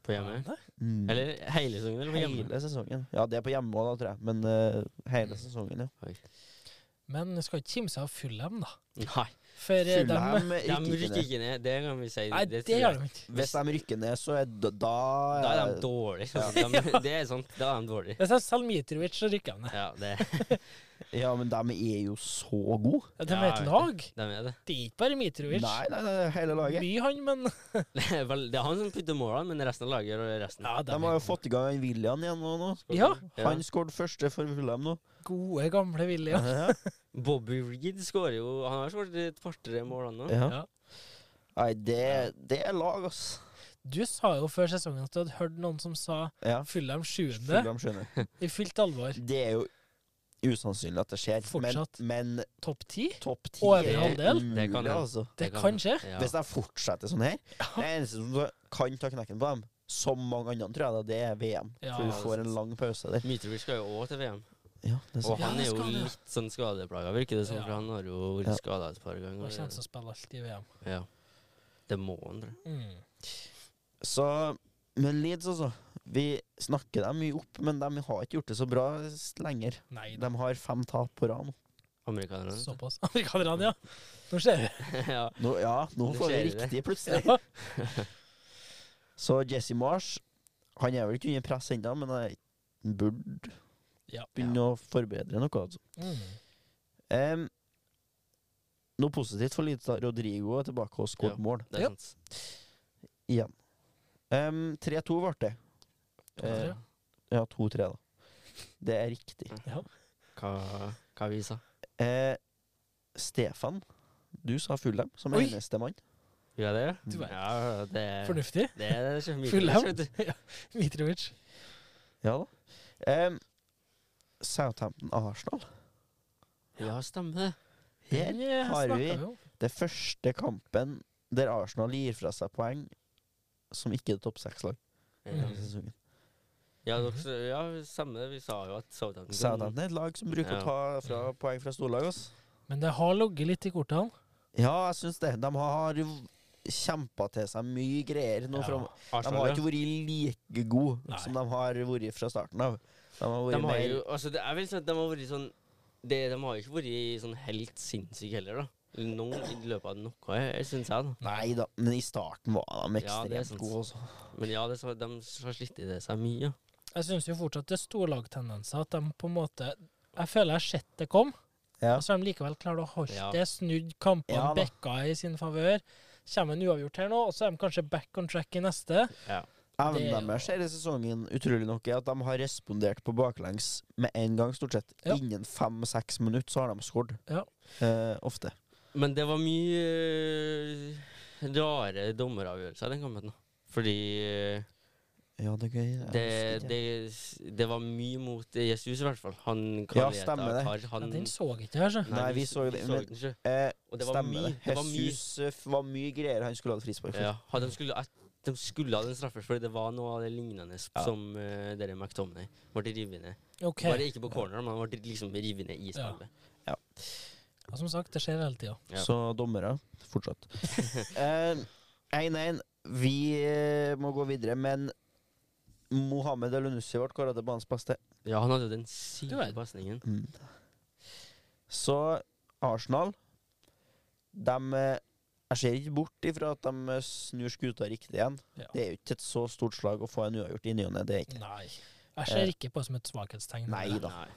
Speaker 3: På hjemme.
Speaker 2: Nei,
Speaker 1: Mm.
Speaker 3: Eller hele sesongen, eller på hjemme.
Speaker 1: Hele sesongen. Ja, det er på hjemme òg, da, tror jeg. Men eh, hele
Speaker 2: Mm.
Speaker 1: sesongen, ja.
Speaker 2: Men du skal ikke kimse av Fulham, da.
Speaker 3: Nei,
Speaker 2: For eh, dem
Speaker 1: Fulham
Speaker 3: de
Speaker 1: rykker
Speaker 3: rykker
Speaker 1: ikke ned.
Speaker 3: ikke ned. Det kan vi si.
Speaker 2: Nei, det
Speaker 3: tror jeg.
Speaker 2: gjør de ikke.
Speaker 1: Hvis de rykker ned, så er da Da,
Speaker 3: Da er de dårlige. altså. De,
Speaker 2: [laughs]
Speaker 3: det er sant, da er de dårlige.
Speaker 2: Jeg synes sånn selv Mitrovic så rykker de ned.
Speaker 3: Ja, det,
Speaker 1: Ja, men de er jo så gode.
Speaker 2: Ja, De
Speaker 3: Ja,
Speaker 2: er
Speaker 3: jeg
Speaker 2: et
Speaker 3: vet
Speaker 2: lag.
Speaker 3: de er det.
Speaker 2: Det er ikke bare
Speaker 1: Nei,
Speaker 2: Mitrovic.
Speaker 1: nei, nei, hele laget.
Speaker 2: Mye han, men
Speaker 3: Det er, vel, det er han som putter målene, men resten av laget gjør resten.
Speaker 2: ja,
Speaker 1: De har jo fått i gang han William igjen nå. nå.
Speaker 2: Ja.
Speaker 1: Han skåret første for Fulham nå.
Speaker 2: gode, gamle Willy. Ja.
Speaker 1: Ja.
Speaker 3: Bobby Reed skårer jo Han har skåret et par-tre mål, han
Speaker 1: [laughs]
Speaker 3: òg.
Speaker 1: Ja.
Speaker 2: Ja.
Speaker 1: Nei, det, det er lag, ass.
Speaker 2: Du sa jo før sesongen at du hadde hørt noen som sa
Speaker 1: Ja.
Speaker 2: Fulham 7.
Speaker 1: Fulham skjønner.
Speaker 2: i fullt alvor.
Speaker 1: Det er jo usannsynlig at det skjer, men,
Speaker 2: Fortsatt.
Speaker 1: men
Speaker 2: Topp 10?
Speaker 1: topp ti
Speaker 2: Over
Speaker 1: er
Speaker 2: halvdel?
Speaker 1: umulig,
Speaker 3: Det kan det.
Speaker 1: altså.
Speaker 2: Det kan skje.
Speaker 3: Ja.
Speaker 1: Hvis de fortsetter sånn her Det eneste som kan ta knekken på dem, som mange andre, tror jeg, da, det er VM.
Speaker 2: Ja.
Speaker 1: for du får en lang pause der.
Speaker 3: Mitrovic skal jo òg til VM,
Speaker 1: Ja, det er
Speaker 3: og
Speaker 1: sant.
Speaker 2: Ja,
Speaker 3: han er jo
Speaker 2: skade.
Speaker 3: litt sånn skadeplaga, virker det som,
Speaker 2: Ja.
Speaker 3: for han har jo vært
Speaker 1: Ja.
Speaker 3: skada et par
Speaker 2: Og kommer til
Speaker 3: ganger.
Speaker 2: å spille alt i VM.
Speaker 3: Ja. Det må han, tror jeg.
Speaker 2: Mm.
Speaker 1: Så Men Leeds, altså. Vi snakker dem mye opp, men de har ikke gjort det så bra s- lenger.
Speaker 2: Nei da.
Speaker 1: De har fem tap på rad nå.
Speaker 3: Amerikanerne. vet
Speaker 2: Såpass. [laughs] Amerikanerne, ja. Nå
Speaker 1: [laughs]
Speaker 2: skjer det.
Speaker 3: du. [laughs] ja.
Speaker 1: nå. Ja, nå
Speaker 3: Det
Speaker 1: får vi
Speaker 3: skjer det.
Speaker 1: riktig,
Speaker 3: [laughs]
Speaker 1: plutselig.
Speaker 2: Ja.
Speaker 1: Så Jesse Marsh Han er vel ikke under press ennå, men han burde
Speaker 2: Ja.
Speaker 1: begynne å forbedre noe. Altså.
Speaker 2: Mm.
Speaker 1: Em, noe positivt for Leeds. da. Rodrigo er tilbake og skåret
Speaker 3: Ja.
Speaker 1: mål.
Speaker 3: Det er
Speaker 2: Ja.
Speaker 3: sant.
Speaker 1: Em, 3-2 ble det.
Speaker 2: Ja,
Speaker 1: Eh, ja, 2-3, da. Det er riktig.
Speaker 3: Mm. Hva, hva vi sa
Speaker 1: Eh, Stefan, du sa Fulham som
Speaker 2: Oi.
Speaker 1: eneste mann.
Speaker 3: Gjør jeg
Speaker 1: Du
Speaker 3: det?
Speaker 2: vet.
Speaker 3: Ja, det er
Speaker 2: Fornuftig.
Speaker 3: det er så mye
Speaker 2: Full hem.
Speaker 3: vet du.
Speaker 2: [laughs] Mitrovic.
Speaker 1: Ja da. Em, Southampton-Arsenal.
Speaker 3: Ja, stemmer det.
Speaker 1: Her
Speaker 2: Ja,
Speaker 1: har
Speaker 2: snakket
Speaker 1: vi-
Speaker 2: eh, om.
Speaker 1: Det første kampen der Arsenal gir fra seg poeng som ikke er topp seks-lag.
Speaker 3: Ja.
Speaker 2: Mm.
Speaker 3: Ja, dere, ja, stemmer det. Vi sa jo at Southampton
Speaker 1: Southampton er et lag som bruker å
Speaker 3: Ja.
Speaker 1: ta fra poeng fra storlag. ass.
Speaker 2: Men det har ligget litt i kortene.
Speaker 1: Ja, jeg syns det. De har kjempa til seg mye greier nå.
Speaker 2: Ja.
Speaker 1: fram- De
Speaker 3: Arsenal,
Speaker 1: har
Speaker 3: ja.
Speaker 1: ikke vært like gode
Speaker 2: Nei.
Speaker 1: som de har vært fra starten av. De har vært
Speaker 3: De har
Speaker 1: mer
Speaker 3: jo altså, det, Jeg vil si at de har vært sånn det, De har jo ikke vært sånn helt sinnssyke heller, da. Noen i løpet av noe, syns jeg, da.
Speaker 1: Nei da, men i starten var de
Speaker 3: Ja, det er sånn-
Speaker 1: ekstremt
Speaker 3: sant.
Speaker 1: gode. altså. Også.
Speaker 3: Men ja, det, så, de har slitt i det seg mye. ja.
Speaker 2: Jeg syns jo fortsatt det er storlagtendenser. At de på en måte Jeg føler jeg har sett det kom,
Speaker 1: Ja.
Speaker 2: og så har de likevel klart å holde
Speaker 3: Ja.
Speaker 2: det. Snudd kampene,
Speaker 1: Ja da.
Speaker 2: bekka i sin favør. Kommer en uavgjort her nå, og så er de kanskje back on track i neste. Det er
Speaker 1: Evnen
Speaker 2: jo-
Speaker 1: deres her i sesongen utrolig nok er at de har respondert på baklengs med en gang, stort sett.
Speaker 2: Ja.
Speaker 1: Innen fem-seks minutter så har de skåret.
Speaker 2: Ja.
Speaker 1: Eh, ofte.
Speaker 3: Men det var mye eh, rare dommeravgjørelser den kampen. da. Fordi eh,
Speaker 1: Ja, det er gøy. Jeg
Speaker 3: det,
Speaker 1: husker ikke.
Speaker 3: det, det var mye mot Jesus, i hvert fall. Han
Speaker 1: Ja,
Speaker 3: Karlieta
Speaker 1: stemmer det.
Speaker 3: Kar, han,
Speaker 2: Ja, den så ikke jeg, altså.
Speaker 1: Nei, vi så det,
Speaker 3: den
Speaker 1: men-
Speaker 3: ikke.
Speaker 1: Eh,
Speaker 3: Og det var
Speaker 1: stemmer
Speaker 3: mye.
Speaker 1: det.
Speaker 3: Det var mye.
Speaker 1: Jesus eh, f- var mye greier han skulle hatt frispark for.
Speaker 3: Ja, hadde de, skulle, at de skulle ha den straffen, fordi det var noe av det lignende
Speaker 1: Ja.
Speaker 3: som uh, dere McTominay ble revet ned.
Speaker 2: Ok.
Speaker 3: Bare ikke på corner, men ble liksom revet ned i spillet.
Speaker 2: Og som sagt, det skjer hele tida.
Speaker 3: Ja.
Speaker 1: Så dommere, fortsatt.
Speaker 3: [laughs]
Speaker 1: Eh, 1-1. Vi eh, må gå videre, men Mohammed Elunussi ble kåra til banens beste.
Speaker 3: Ja, han hadde jo den
Speaker 2: Du
Speaker 3: syke
Speaker 2: verden.
Speaker 3: pasningen.
Speaker 1: Så Arsenal De eh, Jeg ser ikke bort ifra at de eh, snur skuta riktig igjen.
Speaker 2: Ja.
Speaker 1: Det er jo ikke et så stort slag å få en uavgjort i ny og ne. det er ikke-
Speaker 2: Nei. Jeg ser ikke på det som et svakhetstegn.
Speaker 1: Eh. Nei da.
Speaker 3: Nei.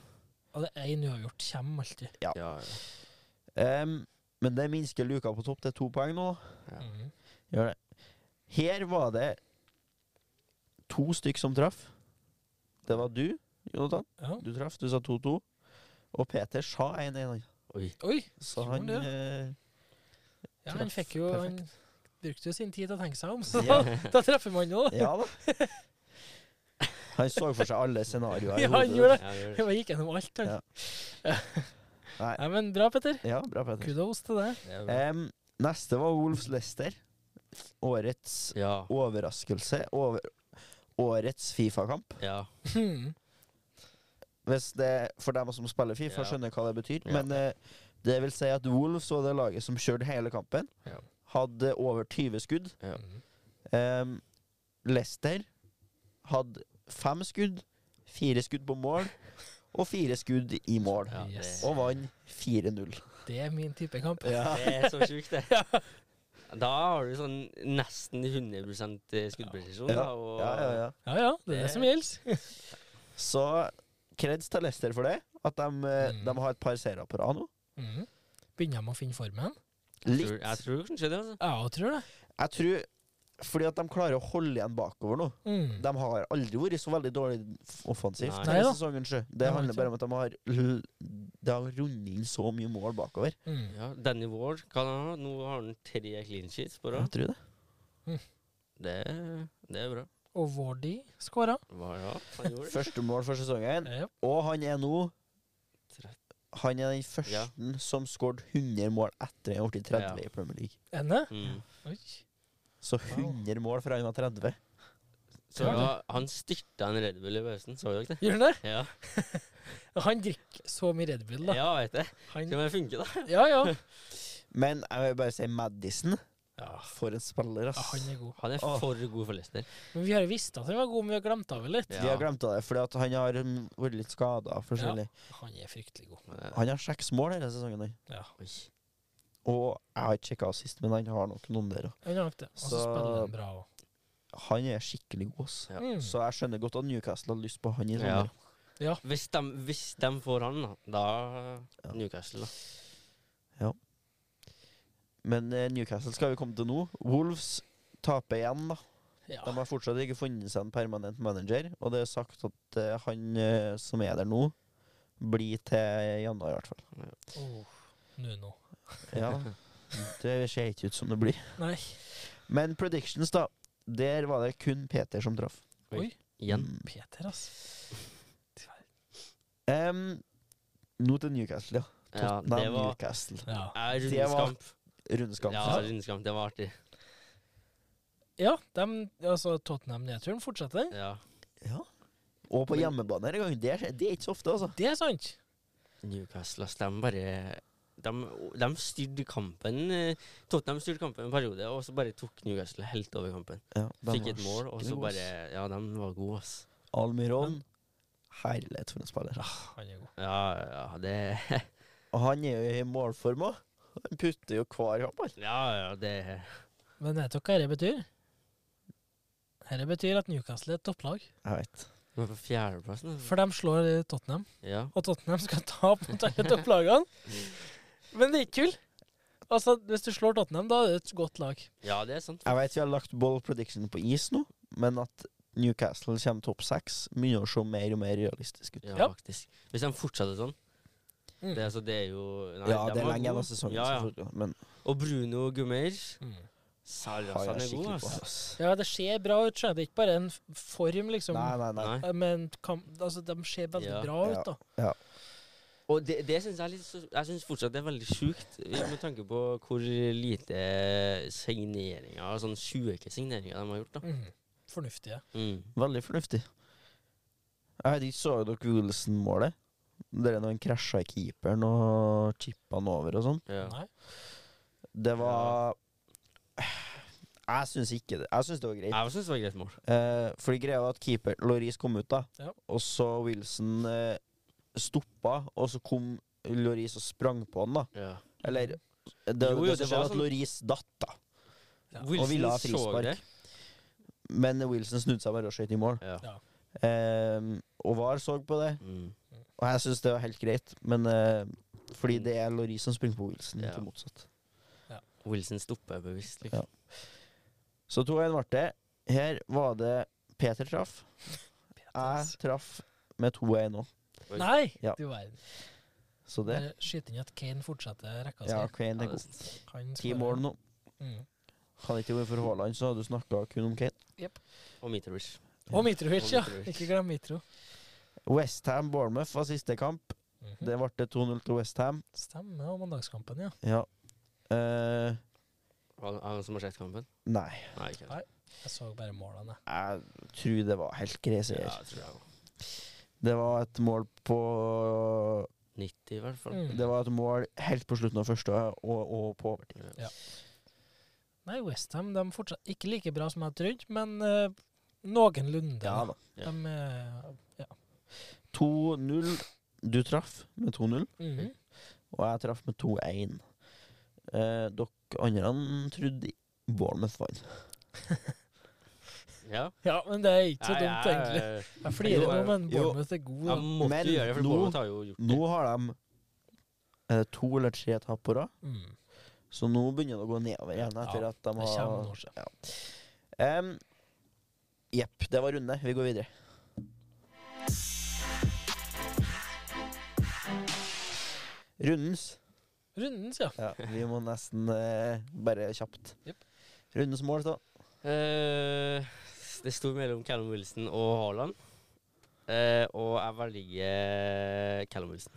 Speaker 2: Og det én uavgjort kommer alltid.
Speaker 1: Ja.
Speaker 3: Ja, ja.
Speaker 1: Em, Men det minsker luka på topp til to poeng nå.
Speaker 3: Ja.
Speaker 2: Mhm.
Speaker 1: Gjør det. Her var det to stykk som traff. Det var du, Jonathan.
Speaker 2: Ja.
Speaker 1: Du traff, du sa 2-2. Og Peter sa 1-1.
Speaker 3: Oi.
Speaker 2: Oi!
Speaker 1: Så
Speaker 2: Gjorde
Speaker 1: han
Speaker 2: det?
Speaker 1: eh,
Speaker 2: Ja, han
Speaker 1: Traff
Speaker 2: fikk jo Han brukte jo sin tid til å tenke seg om, så
Speaker 1: Ja.
Speaker 2: [laughs] da treffer man jo.
Speaker 1: eh, Ja da. Han så for seg alle scenarioer. i
Speaker 2: [laughs] Ja, han
Speaker 1: hodet.
Speaker 2: gjorde [laughs] det.
Speaker 3: Ja, det
Speaker 2: Jeg gikk gjennom alt. han.
Speaker 1: Ja.
Speaker 2: [laughs]
Speaker 1: Nei.
Speaker 2: Nei, men bra, Petter.
Speaker 1: Ja, bra, Peter.
Speaker 2: Kudos til deg. [laughs]
Speaker 3: Det er bra.
Speaker 1: Em, neste var Wolves Lester. Årets
Speaker 3: Ja.
Speaker 1: overraskelse. Over, årets Fifa-kamp.
Speaker 3: ja.
Speaker 2: Mhm.
Speaker 1: Hvis det, for dem som spiller Fifa,
Speaker 3: Ja.
Speaker 1: skjønner hva det betyr.
Speaker 3: Ja.
Speaker 1: Men eh, det vil si at Wolves var det laget som kjørte hele kampen.
Speaker 3: Ja.
Speaker 1: Hadde over 20 skudd.
Speaker 3: Ja.
Speaker 2: Mhm.
Speaker 1: Um, Leicester hadde fem skudd, fire skudd på mål og fire skudd i mål.
Speaker 3: ja det,
Speaker 2: Yes.
Speaker 1: Og vant 4-0.
Speaker 2: Det er min type kamp.
Speaker 3: det er så sjukt,
Speaker 1: [laughs]
Speaker 3: det. Da har du sånn nesten 100 skuddpresisjon.
Speaker 1: Ja.
Speaker 3: Da, og
Speaker 1: Ja, ja, ja.
Speaker 2: Ja ja, det er det som gjelder.
Speaker 1: Så kreds til Leicester for det. At de, eh,
Speaker 2: Mm.
Speaker 1: de har et par seire på rad nå.
Speaker 2: Mhm. Begynner de å finne formen?
Speaker 3: Jeg,
Speaker 1: Litt.
Speaker 3: tror, jeg tror kanskje det. Altså.
Speaker 2: Ja, Jeg tror det.
Speaker 1: Jeg tror fordi at de klarer å holde igjen bakover nå.
Speaker 2: Mhm.
Speaker 1: De har aldri vært så veldig dårlig f- offensivt
Speaker 3: Mm. Nei.
Speaker 1: denne
Speaker 2: Neida.
Speaker 1: sesongen. sjø.
Speaker 2: Det
Speaker 1: Det
Speaker 2: har
Speaker 1: handler
Speaker 2: ikke.
Speaker 1: bare om at de har l- Det har rundet inn så mye mål bakover.
Speaker 2: Mhm.
Speaker 3: Ja, Danny Ward kan han ha. Nå har han tre clean sheets på rad.
Speaker 1: Jeg tror det.
Speaker 3: Det, det er bra.
Speaker 2: Og Wardy skåra.
Speaker 3: Hva ja, han gjorde det.
Speaker 1: Første mål for sesongen.
Speaker 2: Ja.
Speaker 1: Og han er nå
Speaker 3: Trett-
Speaker 1: Han er den første
Speaker 3: Ja.
Speaker 1: som skåret 100 mål etter han har blitt 30
Speaker 3: Ja.
Speaker 1: i Premier League.
Speaker 2: Enne?
Speaker 3: Mm.
Speaker 2: Oi.
Speaker 1: Så 100 mål fra han var 30.
Speaker 3: Så ja, han styrta en Red Bull i pausen, så dere det?
Speaker 2: Gjør han det?
Speaker 3: Ja,
Speaker 2: Han drikker så mye Red Bull, da.
Speaker 3: ja vet det.
Speaker 2: Han,
Speaker 3: Skal det funke, da?
Speaker 2: ja, ja.
Speaker 1: Men jeg vil bare si Madison.
Speaker 2: ja.
Speaker 1: For en spiller,
Speaker 2: Ja,
Speaker 1: ass.
Speaker 2: han er god.
Speaker 3: Han er
Speaker 1: Åh.
Speaker 3: for god for Leicester.
Speaker 2: Men vi har jo visst at han var god, men vi har glemt av det litt.
Speaker 3: Ja.
Speaker 1: Vi har glemt av det, fordi at han har mm, vært litt skada. forskjellig.
Speaker 2: Han er fryktelig god.
Speaker 3: Men det-
Speaker 1: Han har seks mål denne sesongen. han.
Speaker 2: Ja.
Speaker 3: Oi.
Speaker 1: Og jeg har ikke sjekka sist, men han har nok noen der. og
Speaker 2: Han har nok det. Og så
Speaker 1: Så-
Speaker 2: spiller han bra òg.
Speaker 1: Han er skikkelig god, ass.
Speaker 3: Ja.
Speaker 2: Mm.
Speaker 1: Så jeg skjønner godt at Newcastle har lyst på han i
Speaker 3: Ja.
Speaker 1: sommer.
Speaker 3: Hvis de, hvis de får han, da, da
Speaker 1: Ja.
Speaker 3: Newcastle, da.
Speaker 1: Men eh, Newcastle skal vi komme til nå. Wolves taper igjen, da.
Speaker 2: Ja.
Speaker 1: De har fortsatt ikke funnet seg en permanent manager, og det er sagt at eh, han eh, som er der nå, blir til januar i hvert fall.
Speaker 2: Oh, Nuno.
Speaker 1: Ja, [laughs] det ser ikke ut som det blir.
Speaker 2: Nei.
Speaker 1: Men predictions, da. Der var det kun Peter som traff.
Speaker 2: Oi.
Speaker 3: Igjen.
Speaker 1: Mm.
Speaker 2: Peter, altså.
Speaker 1: Em, nå til Newcastle, ja.
Speaker 3: Ja,
Speaker 1: Tottenham,
Speaker 3: det var
Speaker 1: Newcastle.
Speaker 2: Ja.
Speaker 3: ja,
Speaker 1: Det var-
Speaker 3: Rundeskamp.
Speaker 1: Rundeskamp.
Speaker 3: Ja, rundeskamp. Det var artig.
Speaker 2: ja dem- altså Tottenham-nedturen fortsetter.
Speaker 3: Ja.
Speaker 1: Ja. Og på
Speaker 3: Men-
Speaker 1: hjemmebane denne gangen. Det, er- det er ikke så ofte, altså.
Speaker 2: Det er sant.
Speaker 3: Newcastle, ass. De bare de, de styrte kampen. eh, Tottenham styrte kampen en periode, og så bare tok Newcastle helt over kampen.
Speaker 1: Ja, de
Speaker 3: Fikk
Speaker 1: var
Speaker 3: et mål, og så
Speaker 1: skikkelig gode, ass.
Speaker 3: bare Ja, de var gode, ass.
Speaker 1: Almiron. Herlighet for en spiller. Ah,
Speaker 2: Han er god.
Speaker 3: Ja, ja, det
Speaker 1: Og han er jo i målform òg. Han putter jo hver kamp. han.
Speaker 3: Ja, ja, det
Speaker 2: Men vet dere hva dette betyr? Dette betyr at Newcastle er et topplag.
Speaker 1: Jeg vet.
Speaker 3: Men på fjerdeplassen altså.
Speaker 2: For de slår eh, Tottenham.
Speaker 3: Ja.
Speaker 2: og Tottenham skal [laughs] tape mot alle topplagene. Men det er ikke tull. Altså, Hvis du slår Tottenham, da er det et godt lag.
Speaker 3: ja, det er sant.
Speaker 1: Jeg vet vi har lagt ball prediction på is nå, men at Newcastle kommer topp seks, begynner å se mer og mer realistisk ut.
Speaker 3: Ja,
Speaker 2: Ja.
Speaker 3: faktisk. Hvis de fortsetter sånn
Speaker 2: Mm.
Speaker 3: det, altså, det er jo nei,
Speaker 1: Ja,
Speaker 3: de
Speaker 1: det er
Speaker 3: var
Speaker 1: lenge igjen av
Speaker 3: gode.
Speaker 1: sesongen.
Speaker 3: Ja, ja.
Speaker 1: selvfølgelig, Men
Speaker 3: Og Bruno Gummer
Speaker 2: Mm.
Speaker 3: Salah
Speaker 1: Har
Speaker 3: han
Speaker 1: jeg
Speaker 3: er god,
Speaker 1: skikkelig på.
Speaker 3: altså.
Speaker 1: ass.
Speaker 2: Ja, det ser bra ut, skjønner jeg. Det er ikke bare en f- form, liksom.
Speaker 1: Nei, nei, nei.
Speaker 3: Nei.
Speaker 2: Eh, Men kam, altså, de ser veldig
Speaker 3: Ja.
Speaker 2: bra ut, da.
Speaker 3: Og det, det synes jeg er litt så, Jeg synes fortsatt det er veldig sjukt, eh, med tanke på hvor lite signeringer, sånn sjuke signeringer, de har gjort. da.
Speaker 2: Mhm. Fornuftige.
Speaker 3: Mm.
Speaker 1: Veldig fornuftig. Jeg vet ikke, Så dere Wilson-målet? Det er når han krasja i keeperen og chippa han over og sånn.
Speaker 3: Ja.
Speaker 2: Nei.
Speaker 1: Det var Jeg syns ikke det. Jeg syns det var greit.
Speaker 3: Jeg synes det var et greit mål.
Speaker 1: Eh, fordi greia var at keeper Loris kom ut, da.
Speaker 2: Ja.
Speaker 1: Og så Wilson eh, stoppa, og så kom Loris og sprang på han, da.
Speaker 3: Ja.
Speaker 1: Eller Det,
Speaker 3: Jo, jo,
Speaker 1: det, som
Speaker 3: det var
Speaker 1: skjer, var
Speaker 3: sånn-
Speaker 1: at Loris datt, da.
Speaker 2: Ja.
Speaker 1: Og ville ha
Speaker 3: Wilson så
Speaker 1: frispark.
Speaker 3: det.
Speaker 1: Men Wilson snudde seg bare og skjøt i mål.
Speaker 3: Ja.
Speaker 1: Eh, og VAR så på det,
Speaker 3: Mm.
Speaker 1: og jeg syns det var helt greit. Men eh, fordi det er Loris som springer på Wilson,
Speaker 3: Mm. Ja.
Speaker 1: ikke motsatt.
Speaker 3: Wilson stopper bevisst.
Speaker 1: Ja.
Speaker 3: Liksom.
Speaker 1: Så 2-1 ble det. Her var det Peter traff.
Speaker 3: [laughs]
Speaker 1: Jeg
Speaker 2: Peters.
Speaker 3: altså.
Speaker 1: traff med 2-1 òg.
Speaker 3: Oi.
Speaker 2: Nei!
Speaker 1: Ja.
Speaker 2: Du verden.
Speaker 1: Så det
Speaker 2: Bare skyte inn at Kane fortsetter rekka
Speaker 1: Ja,
Speaker 2: si.
Speaker 1: Kane
Speaker 3: Ja,
Speaker 1: er
Speaker 3: det
Speaker 1: god.
Speaker 3: synes jeg.
Speaker 2: Han
Speaker 1: Ti
Speaker 2: skårer.
Speaker 1: mål nå.
Speaker 2: Mhm.
Speaker 1: Hadde ikke vært for Haaland, så hadde du snakka kun om Kane.
Speaker 3: Og Mitrovic.
Speaker 2: Og Mitrovic, ja.
Speaker 3: Og Mitrovic.
Speaker 2: Ikke glem Mitro.
Speaker 1: Westham Bournemouth var siste kamp.
Speaker 2: Mhm.
Speaker 1: Det ble 2-0 til Westham.
Speaker 2: Stemmer, om mandagskampen, ja.
Speaker 1: Ja. Eh,
Speaker 3: Han, han som har sett kampen?
Speaker 1: nei,
Speaker 3: Nei, ikke
Speaker 2: Nei. Jeg så bare målene.
Speaker 1: jeg tror det var helt grei
Speaker 3: Ja,
Speaker 1: seier.
Speaker 3: jeg tror jeg også.
Speaker 1: Det var et mål på
Speaker 3: 90 i hvert fall.
Speaker 2: Mm.
Speaker 1: Det var et mål helt på slutten av første og, og på overtid.
Speaker 3: Ja.
Speaker 2: Nei, Westham er fortsatt ikke like bra som jeg trodde, men eh, noenlunde.
Speaker 1: Ja da.
Speaker 2: De, eh,
Speaker 1: 2-0. Du traff med 2-0,
Speaker 2: mhm.
Speaker 1: og jeg traff med 2-1. Eh, dere andre trodde Bournemouth vant.
Speaker 3: Ja.
Speaker 2: Ja, men det er ikke så
Speaker 3: Nei,
Speaker 2: dumt,
Speaker 3: jeg-
Speaker 2: egentlig. Jeg flirer nå,
Speaker 3: Jo,
Speaker 2: men
Speaker 1: jo.
Speaker 2: Bournemouth er god. da.
Speaker 3: Jeg måtte
Speaker 1: Men
Speaker 3: gjøre det, for
Speaker 1: nå-
Speaker 3: Bournemouth har jo gjort det.
Speaker 1: Nå har de er det to eller tre tap på rad.
Speaker 2: Mm.
Speaker 1: Så nå begynner det å gå nedover igjen. Etter
Speaker 2: Ja,
Speaker 1: at de
Speaker 2: det
Speaker 1: har
Speaker 2: kommer noen år siden.
Speaker 1: Em, Jepp, det var runde. Vi går videre. Rundens
Speaker 2: Rundens, ja.
Speaker 1: ja, Vi må nesten eh, bare kjapt.
Speaker 2: Jepp.
Speaker 1: Rundens mål, så.
Speaker 3: Eh, det sto mellom Callum Wilson og Haaland. Eh, og jeg velger eh, Callum Wilson.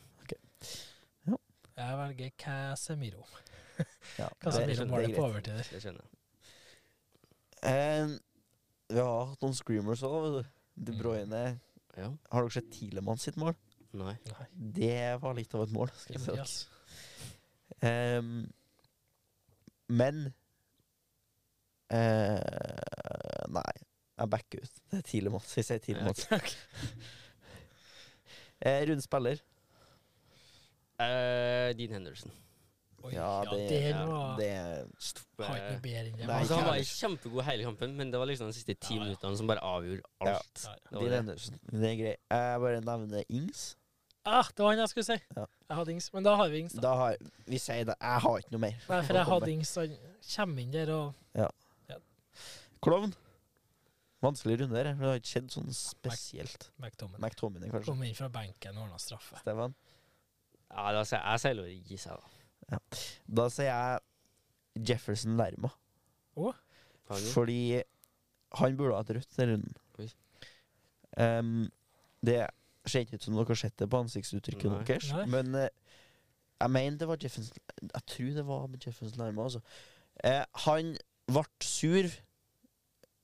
Speaker 2: Jeg velger Casemiro.
Speaker 1: Ja, det-
Speaker 2: Casemiro
Speaker 3: skjønner
Speaker 2: måler
Speaker 1: jeg
Speaker 2: på
Speaker 1: greit.
Speaker 2: overtider.
Speaker 3: Det skjønner jeg.
Speaker 1: Em, Eh, vi har hatt noen screamers òg. De
Speaker 2: Mm.
Speaker 1: Bruyne
Speaker 3: Ja.
Speaker 1: Har dere sett Tilemann sitt mål?
Speaker 3: Nei.
Speaker 2: Nei,
Speaker 1: Det var litt av et mål. Skal jeg si
Speaker 2: Emil,
Speaker 1: dere.
Speaker 2: [laughs] altså.
Speaker 1: Ehm, men eh, Nei, jeg backer ut. Det er Tilemanns. Vi sier Tilemanns. Eh, Rund spiller.
Speaker 3: Eh, Dean Henderson.
Speaker 2: Oi, ja, det,
Speaker 1: ja,
Speaker 2: var
Speaker 1: det er
Speaker 3: Stoppe-
Speaker 2: Har ikke noe bedre enn det.
Speaker 1: Nei,
Speaker 3: altså, han
Speaker 1: ikke
Speaker 3: var
Speaker 1: heller.
Speaker 3: kjempegod hele kampen, men det var liksom de siste
Speaker 2: Ja,
Speaker 3: ti
Speaker 2: ja.
Speaker 3: minuttene som bare avgjorde
Speaker 1: Ja.
Speaker 3: alt.
Speaker 2: Ja, ja.
Speaker 3: Det var
Speaker 1: Dean
Speaker 3: det.
Speaker 1: Henderson. Det er greit. Jeg bare nevner Ings.
Speaker 2: Ah, det var han jeg skulle si.
Speaker 1: Ja.
Speaker 2: Jeg hadde Ings, men da har vi Ings, da.
Speaker 1: Da har, vi sier det. Jeg har ikke noe mer.
Speaker 2: Nei, for
Speaker 1: Nå
Speaker 2: jeg
Speaker 1: kommer.
Speaker 2: hadde Ings, han kommer inn der og
Speaker 1: Klovn. Vanskelig runde her. for Det har ikke skjedd sånn spesielt.
Speaker 2: McTominay
Speaker 1: McTominay, kanskje.
Speaker 2: kom inn fra benken og ordna straffe.
Speaker 1: Stefan.
Speaker 3: Ja, da sier jeg sier lov å gi seg, da.
Speaker 1: Da sier jeg Jefferson Lerma.
Speaker 3: Faen, jo.
Speaker 1: Fordi han burde ha et rødt i runden.
Speaker 3: Oi.
Speaker 1: Em, det ser ikke ut som dere har sett det på ansiktsuttrykket
Speaker 3: Nei.
Speaker 1: deres,
Speaker 2: Nei.
Speaker 1: men eh, jeg mener det var Jefferson Jeg tror det var med Jefferson Lerma, altså. Eh, han ble sur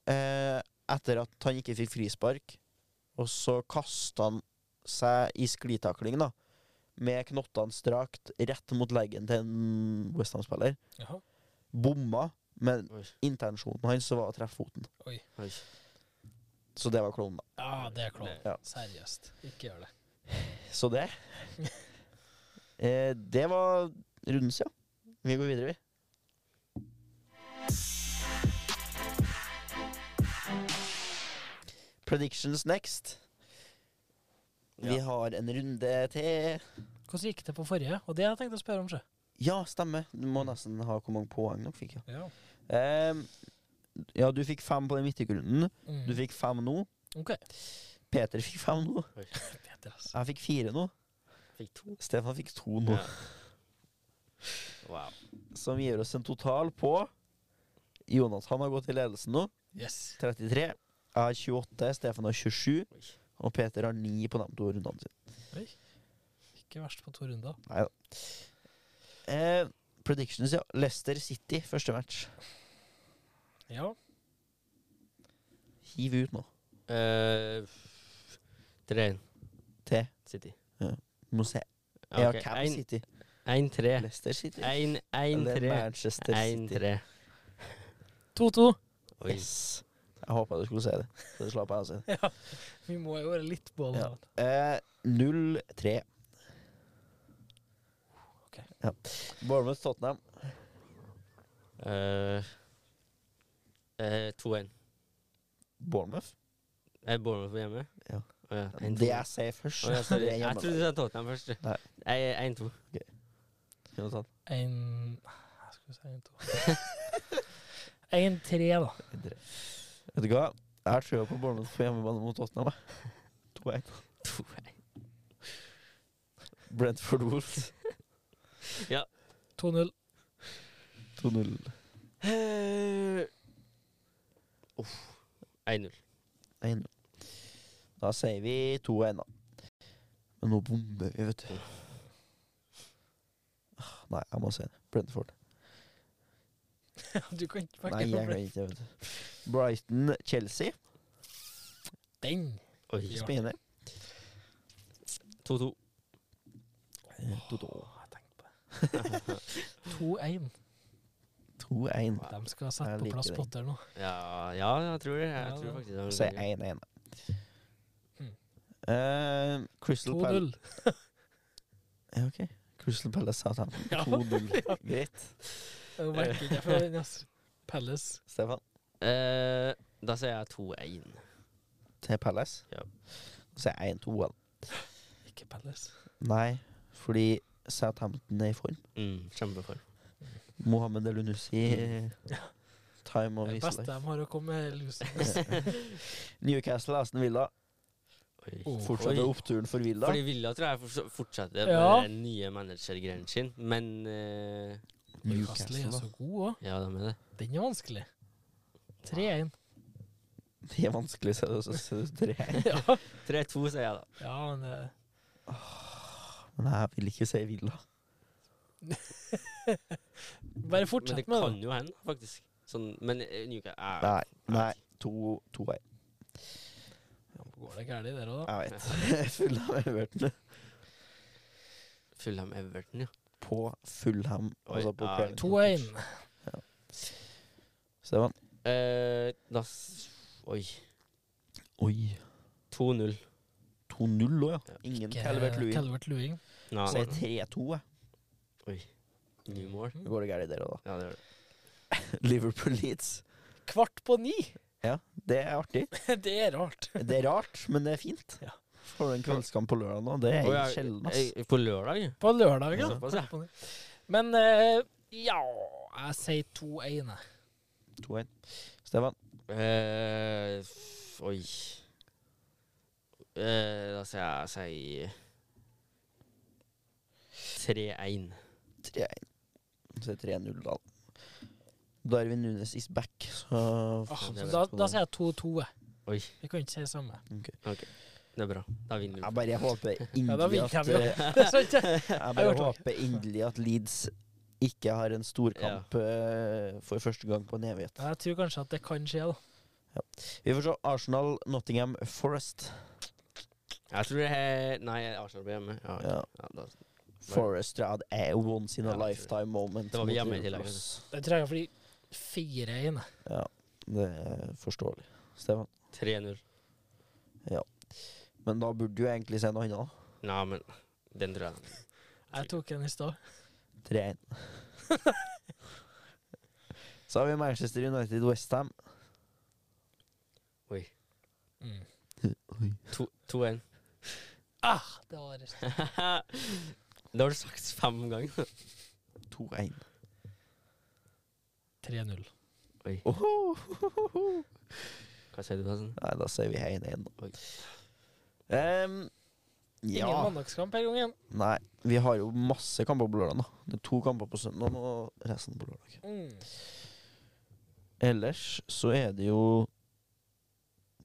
Speaker 1: eh, etter at han ikke fikk frispark, og så kasta han seg i sklitakling, da. Med knottene strakt rett mot leggen til en Westham-spiller.
Speaker 2: Jaha.
Speaker 1: Bomma, men
Speaker 3: Oi,
Speaker 1: intensjonen hans var å treffe foten.
Speaker 3: oi.
Speaker 1: Så det var klovnen, da.
Speaker 2: Ja, det er klovn.
Speaker 1: Ja.
Speaker 2: Seriøst. Ikke gjør det.
Speaker 1: Så det [laughs] eh, Det var rundens, ja. Vi går videre, vi. Predictions next. Vi
Speaker 3: Ja.
Speaker 1: har en runde til.
Speaker 2: Hvordan gikk det på forrige? Og det har jeg tenkt å spørre om, sjø.
Speaker 1: Ja, stemmer. Du må nesten ha hvor mange poeng dere fikk. Ja.
Speaker 2: Ja.
Speaker 1: Eh, ja, du fikk fem på den midtrunden.
Speaker 2: Mm.
Speaker 1: Du fikk fem nå. [laughs]
Speaker 2: OK.
Speaker 1: Peter fikk fem nå.
Speaker 2: Peter, altså.
Speaker 1: Jeg fikk fire nå.
Speaker 3: Fikk to.
Speaker 1: Stefan fikk to nå.
Speaker 3: Ja. Wow.
Speaker 1: som gir oss en total på Jonas han har gått i ledelsen nå.
Speaker 2: Yes.
Speaker 1: 33. Jeg har 28, Stefan har 27,
Speaker 3: Oi.
Speaker 1: og Peter har 9 på de to rundene sine.
Speaker 2: Ikke verst på to runder.
Speaker 1: Nei da. Eh, predictions, ja. Leicester City, første match.
Speaker 2: Ja.
Speaker 1: Hiv ut nå.
Speaker 3: Eh, 3-1
Speaker 1: Til.
Speaker 3: City.
Speaker 1: Må se. Jeg har
Speaker 3: Ok,
Speaker 1: Cam
Speaker 3: en-
Speaker 1: City.
Speaker 3: 1-3.
Speaker 1: Leicester City.
Speaker 3: 1-1-3.
Speaker 1: Eller Manchester City.
Speaker 3: 1-3.
Speaker 2: 2-2.
Speaker 3: Oi.
Speaker 1: Yes. Jeg håpa du skulle si det. Så slapp jeg å si det.
Speaker 3: [laughs]
Speaker 2: Ja. Vi må jo være litt på
Speaker 1: Ja.
Speaker 2: ballen.
Speaker 1: Eh, 0-3.
Speaker 2: Ok.
Speaker 1: Ja. Bournemouth-Tottenham.
Speaker 3: Eh, eh, 2-1.
Speaker 1: Bournemouth?
Speaker 3: Er Bournemouth hjemme?
Speaker 1: Ja.
Speaker 3: Å ja,
Speaker 1: Det
Speaker 3: 1-2.
Speaker 1: jeg sier først.
Speaker 3: Å ja, sorry.
Speaker 1: det er
Speaker 3: Jeg
Speaker 1: hjemme.
Speaker 3: trodde du sa Tottenham først.
Speaker 1: Nei.
Speaker 3: Jeg- 1-2.
Speaker 1: Noe sånt.
Speaker 2: En Skal vi si en to? [laughs] En tre, da.
Speaker 1: Vet du hva? Jeg har trua på Bournemouth på hjemmebane mot Tottenham. jeg. [laughs] 2-1.
Speaker 3: 2-1.
Speaker 1: Brentford Wolves
Speaker 2: 2-0.
Speaker 1: 2-0.
Speaker 3: Eh, uff. 1-0.
Speaker 1: 1-0. Da sier vi 2-1, da. Men nå bomber vi, vet du. Ah, Nei, jeg må si det. Brentford.
Speaker 2: Du kan ikke
Speaker 1: Nei,
Speaker 2: pakke
Speaker 1: jeg
Speaker 2: på
Speaker 1: kan ikke, vet du. Brighton-Chelsea.
Speaker 2: den.
Speaker 3: Oi.
Speaker 2: Ja.
Speaker 1: Spennende.
Speaker 3: 2-2.
Speaker 2: Åh, jeg tenkte på det. 2-1.
Speaker 1: 2-1.
Speaker 2: De skal sette
Speaker 1: Jeg
Speaker 2: på
Speaker 1: liker
Speaker 2: plass
Speaker 1: den.
Speaker 2: Potter nå.
Speaker 3: Ja, ja, jeg tror det. Jeg
Speaker 2: Ja,
Speaker 3: tror
Speaker 2: det-
Speaker 3: faktisk det.
Speaker 1: Si 1-1.
Speaker 2: Mm. Hmm.
Speaker 1: Eh, Crystal Palace
Speaker 2: 2-0.
Speaker 1: ja, ok. Crystal Palace Southampton.
Speaker 2: [laughs] Ja.
Speaker 1: 2-0. Greit.
Speaker 2: Jeg merker ikke for den, altså. Palace.
Speaker 1: Stefan,
Speaker 3: Eh, da sier jeg 2-1.
Speaker 1: til Palace.
Speaker 3: Ja.
Speaker 1: Så er jeg 1-2. eller?
Speaker 2: Ikke Palace.
Speaker 1: Nei, fordi Southampton er i form.
Speaker 3: Mm, Kjempeform.
Speaker 1: Mohammed Elunussi Time of
Speaker 2: Hmm. Det
Speaker 1: his
Speaker 2: beste
Speaker 1: life.
Speaker 2: de har å komme med, Lucy.
Speaker 3: [laughs]
Speaker 1: Newcastle Aston Villa.
Speaker 3: Oi.
Speaker 2: Oh.
Speaker 1: Fortsetter
Speaker 3: Oi.
Speaker 1: oppturen for Villa.
Speaker 3: Fordi Villa tror jeg forts- fortsetter
Speaker 2: Ja.
Speaker 3: med den nye managergreien sin, men eh,
Speaker 2: Newcastle er
Speaker 1: da.
Speaker 2: så god òg.
Speaker 3: Ja, de er det.
Speaker 2: Den er vanskelig. 3-1.
Speaker 1: Det er vanskelig, så så- så- så- det er-
Speaker 2: Ja.
Speaker 3: 3-2, sier jeg da.
Speaker 2: [laughs] ja, men eh,
Speaker 1: Men jeg vil ikke si Villa.
Speaker 2: Bare
Speaker 3: Men det
Speaker 2: fortsett med
Speaker 3: kan
Speaker 2: det.
Speaker 3: jo hende, faktisk. Sånn, men eh, Newcastle er
Speaker 1: Nei. Nei. 2-1.
Speaker 2: Går det gærent der òg, da?
Speaker 1: Jeg vet. [laughs] Fulham Everton.
Speaker 3: Fulham Everton, ja.
Speaker 1: På Fulham.
Speaker 3: Oi,
Speaker 1: Altså på
Speaker 3: ja.
Speaker 1: Premier League.
Speaker 2: 2-1.
Speaker 1: Stefan.
Speaker 3: Eh, da s- Oi.
Speaker 1: Oi.
Speaker 3: 2-0.
Speaker 1: 2-0 òg, ja.
Speaker 3: Ja.
Speaker 1: Ingen
Speaker 2: Ikke
Speaker 1: Calvert Louis.
Speaker 2: Calvert Lewin.
Speaker 3: Nei,
Speaker 1: Så er det 3-2, jeg.
Speaker 3: New mål.
Speaker 1: Nå går det galt der òg,
Speaker 3: Ja, det gjør det.
Speaker 1: da. [laughs] Liverpool Leeds.
Speaker 2: Kvart på ni! [laughs]
Speaker 1: Det er artig.
Speaker 2: Det er rart.
Speaker 1: Det er rart, men det er fint.
Speaker 2: Ja.
Speaker 1: Får du en kveldskamp på lørdag nå? Det er
Speaker 3: Å, ja,
Speaker 1: sjelden, ass.
Speaker 3: eh, På lørdag? ja.
Speaker 2: På lørdag, ja.
Speaker 3: Såpass, ja.
Speaker 2: Kvart på ni. Men eh, ja Jeg sier 2-1, jeg.
Speaker 1: 2-1. Stefan.
Speaker 3: Eh, f- oi. Eh, da sier jeg sier 3-1.
Speaker 1: 3-1. Så er det 3-0, da. Darwin Nunes is back, så
Speaker 2: Åh,
Speaker 3: det
Speaker 2: Ah, så
Speaker 3: er
Speaker 2: da,
Speaker 1: rett på
Speaker 2: da
Speaker 1: den.
Speaker 2: sier jeg 2-2, jeg.
Speaker 3: Oi.
Speaker 2: Vi kan ikke si det samme.
Speaker 3: Det er bra. Da vinner
Speaker 1: Jeg
Speaker 3: vi.
Speaker 1: bare håper
Speaker 2: Ja, da
Speaker 1: inderlig
Speaker 2: vinner
Speaker 1: at
Speaker 2: vi jo.
Speaker 1: eh,
Speaker 2: Det er sant, [laughs] ja.
Speaker 1: Jeg bare
Speaker 2: Jeg hørte det.
Speaker 1: håper inderlig at Leeds ikke har en storkamp eh, for første gang på en evighet.
Speaker 2: Jeg tror kanskje at det kan skje, da.
Speaker 1: Vi får se. Arsenal, Nottingham, Forest.
Speaker 3: Jeg tror det er Nei, Arsenal blir hjemme. Ja, ok.
Speaker 1: Ja.
Speaker 3: Ja, da.
Speaker 1: Forest Rad er jo once in a
Speaker 3: Ja, jeg tror
Speaker 1: lifetime moment.
Speaker 3: Det var vi
Speaker 1: mot
Speaker 3: hjemme i
Speaker 1: Liverpool,
Speaker 3: tillegg.
Speaker 1: ass.
Speaker 2: Det tror jeg blir 4-1. jeg.
Speaker 1: Ja, det er forståelig, Stefan.
Speaker 3: 3-0.
Speaker 1: Men da burde du egentlig si noe annet.
Speaker 3: Nei, men den tror jeg.
Speaker 2: Jeg tok en i stad.
Speaker 3: [laughs]
Speaker 1: 3-1. Så har vi Manchester United Westham.
Speaker 3: Oi.
Speaker 2: Mm.
Speaker 3: To- 2-1.
Speaker 2: Ah, det var rett.
Speaker 3: det har du sagt fem ganger.
Speaker 1: 2-1.
Speaker 2: 3-0.
Speaker 3: Oi.
Speaker 1: Ohohohoho.
Speaker 3: Hva sier du da, sånn?
Speaker 1: Nei, da sier vi 1-1.
Speaker 3: Oi.
Speaker 1: Um, ja.
Speaker 2: Ingen mandagskamp her gangen.
Speaker 1: Nei, vi har jo masse kamper på lørdag. Det er to kamper på søndag og resten på lørdag.
Speaker 2: Mm.
Speaker 1: Ellers så er det jo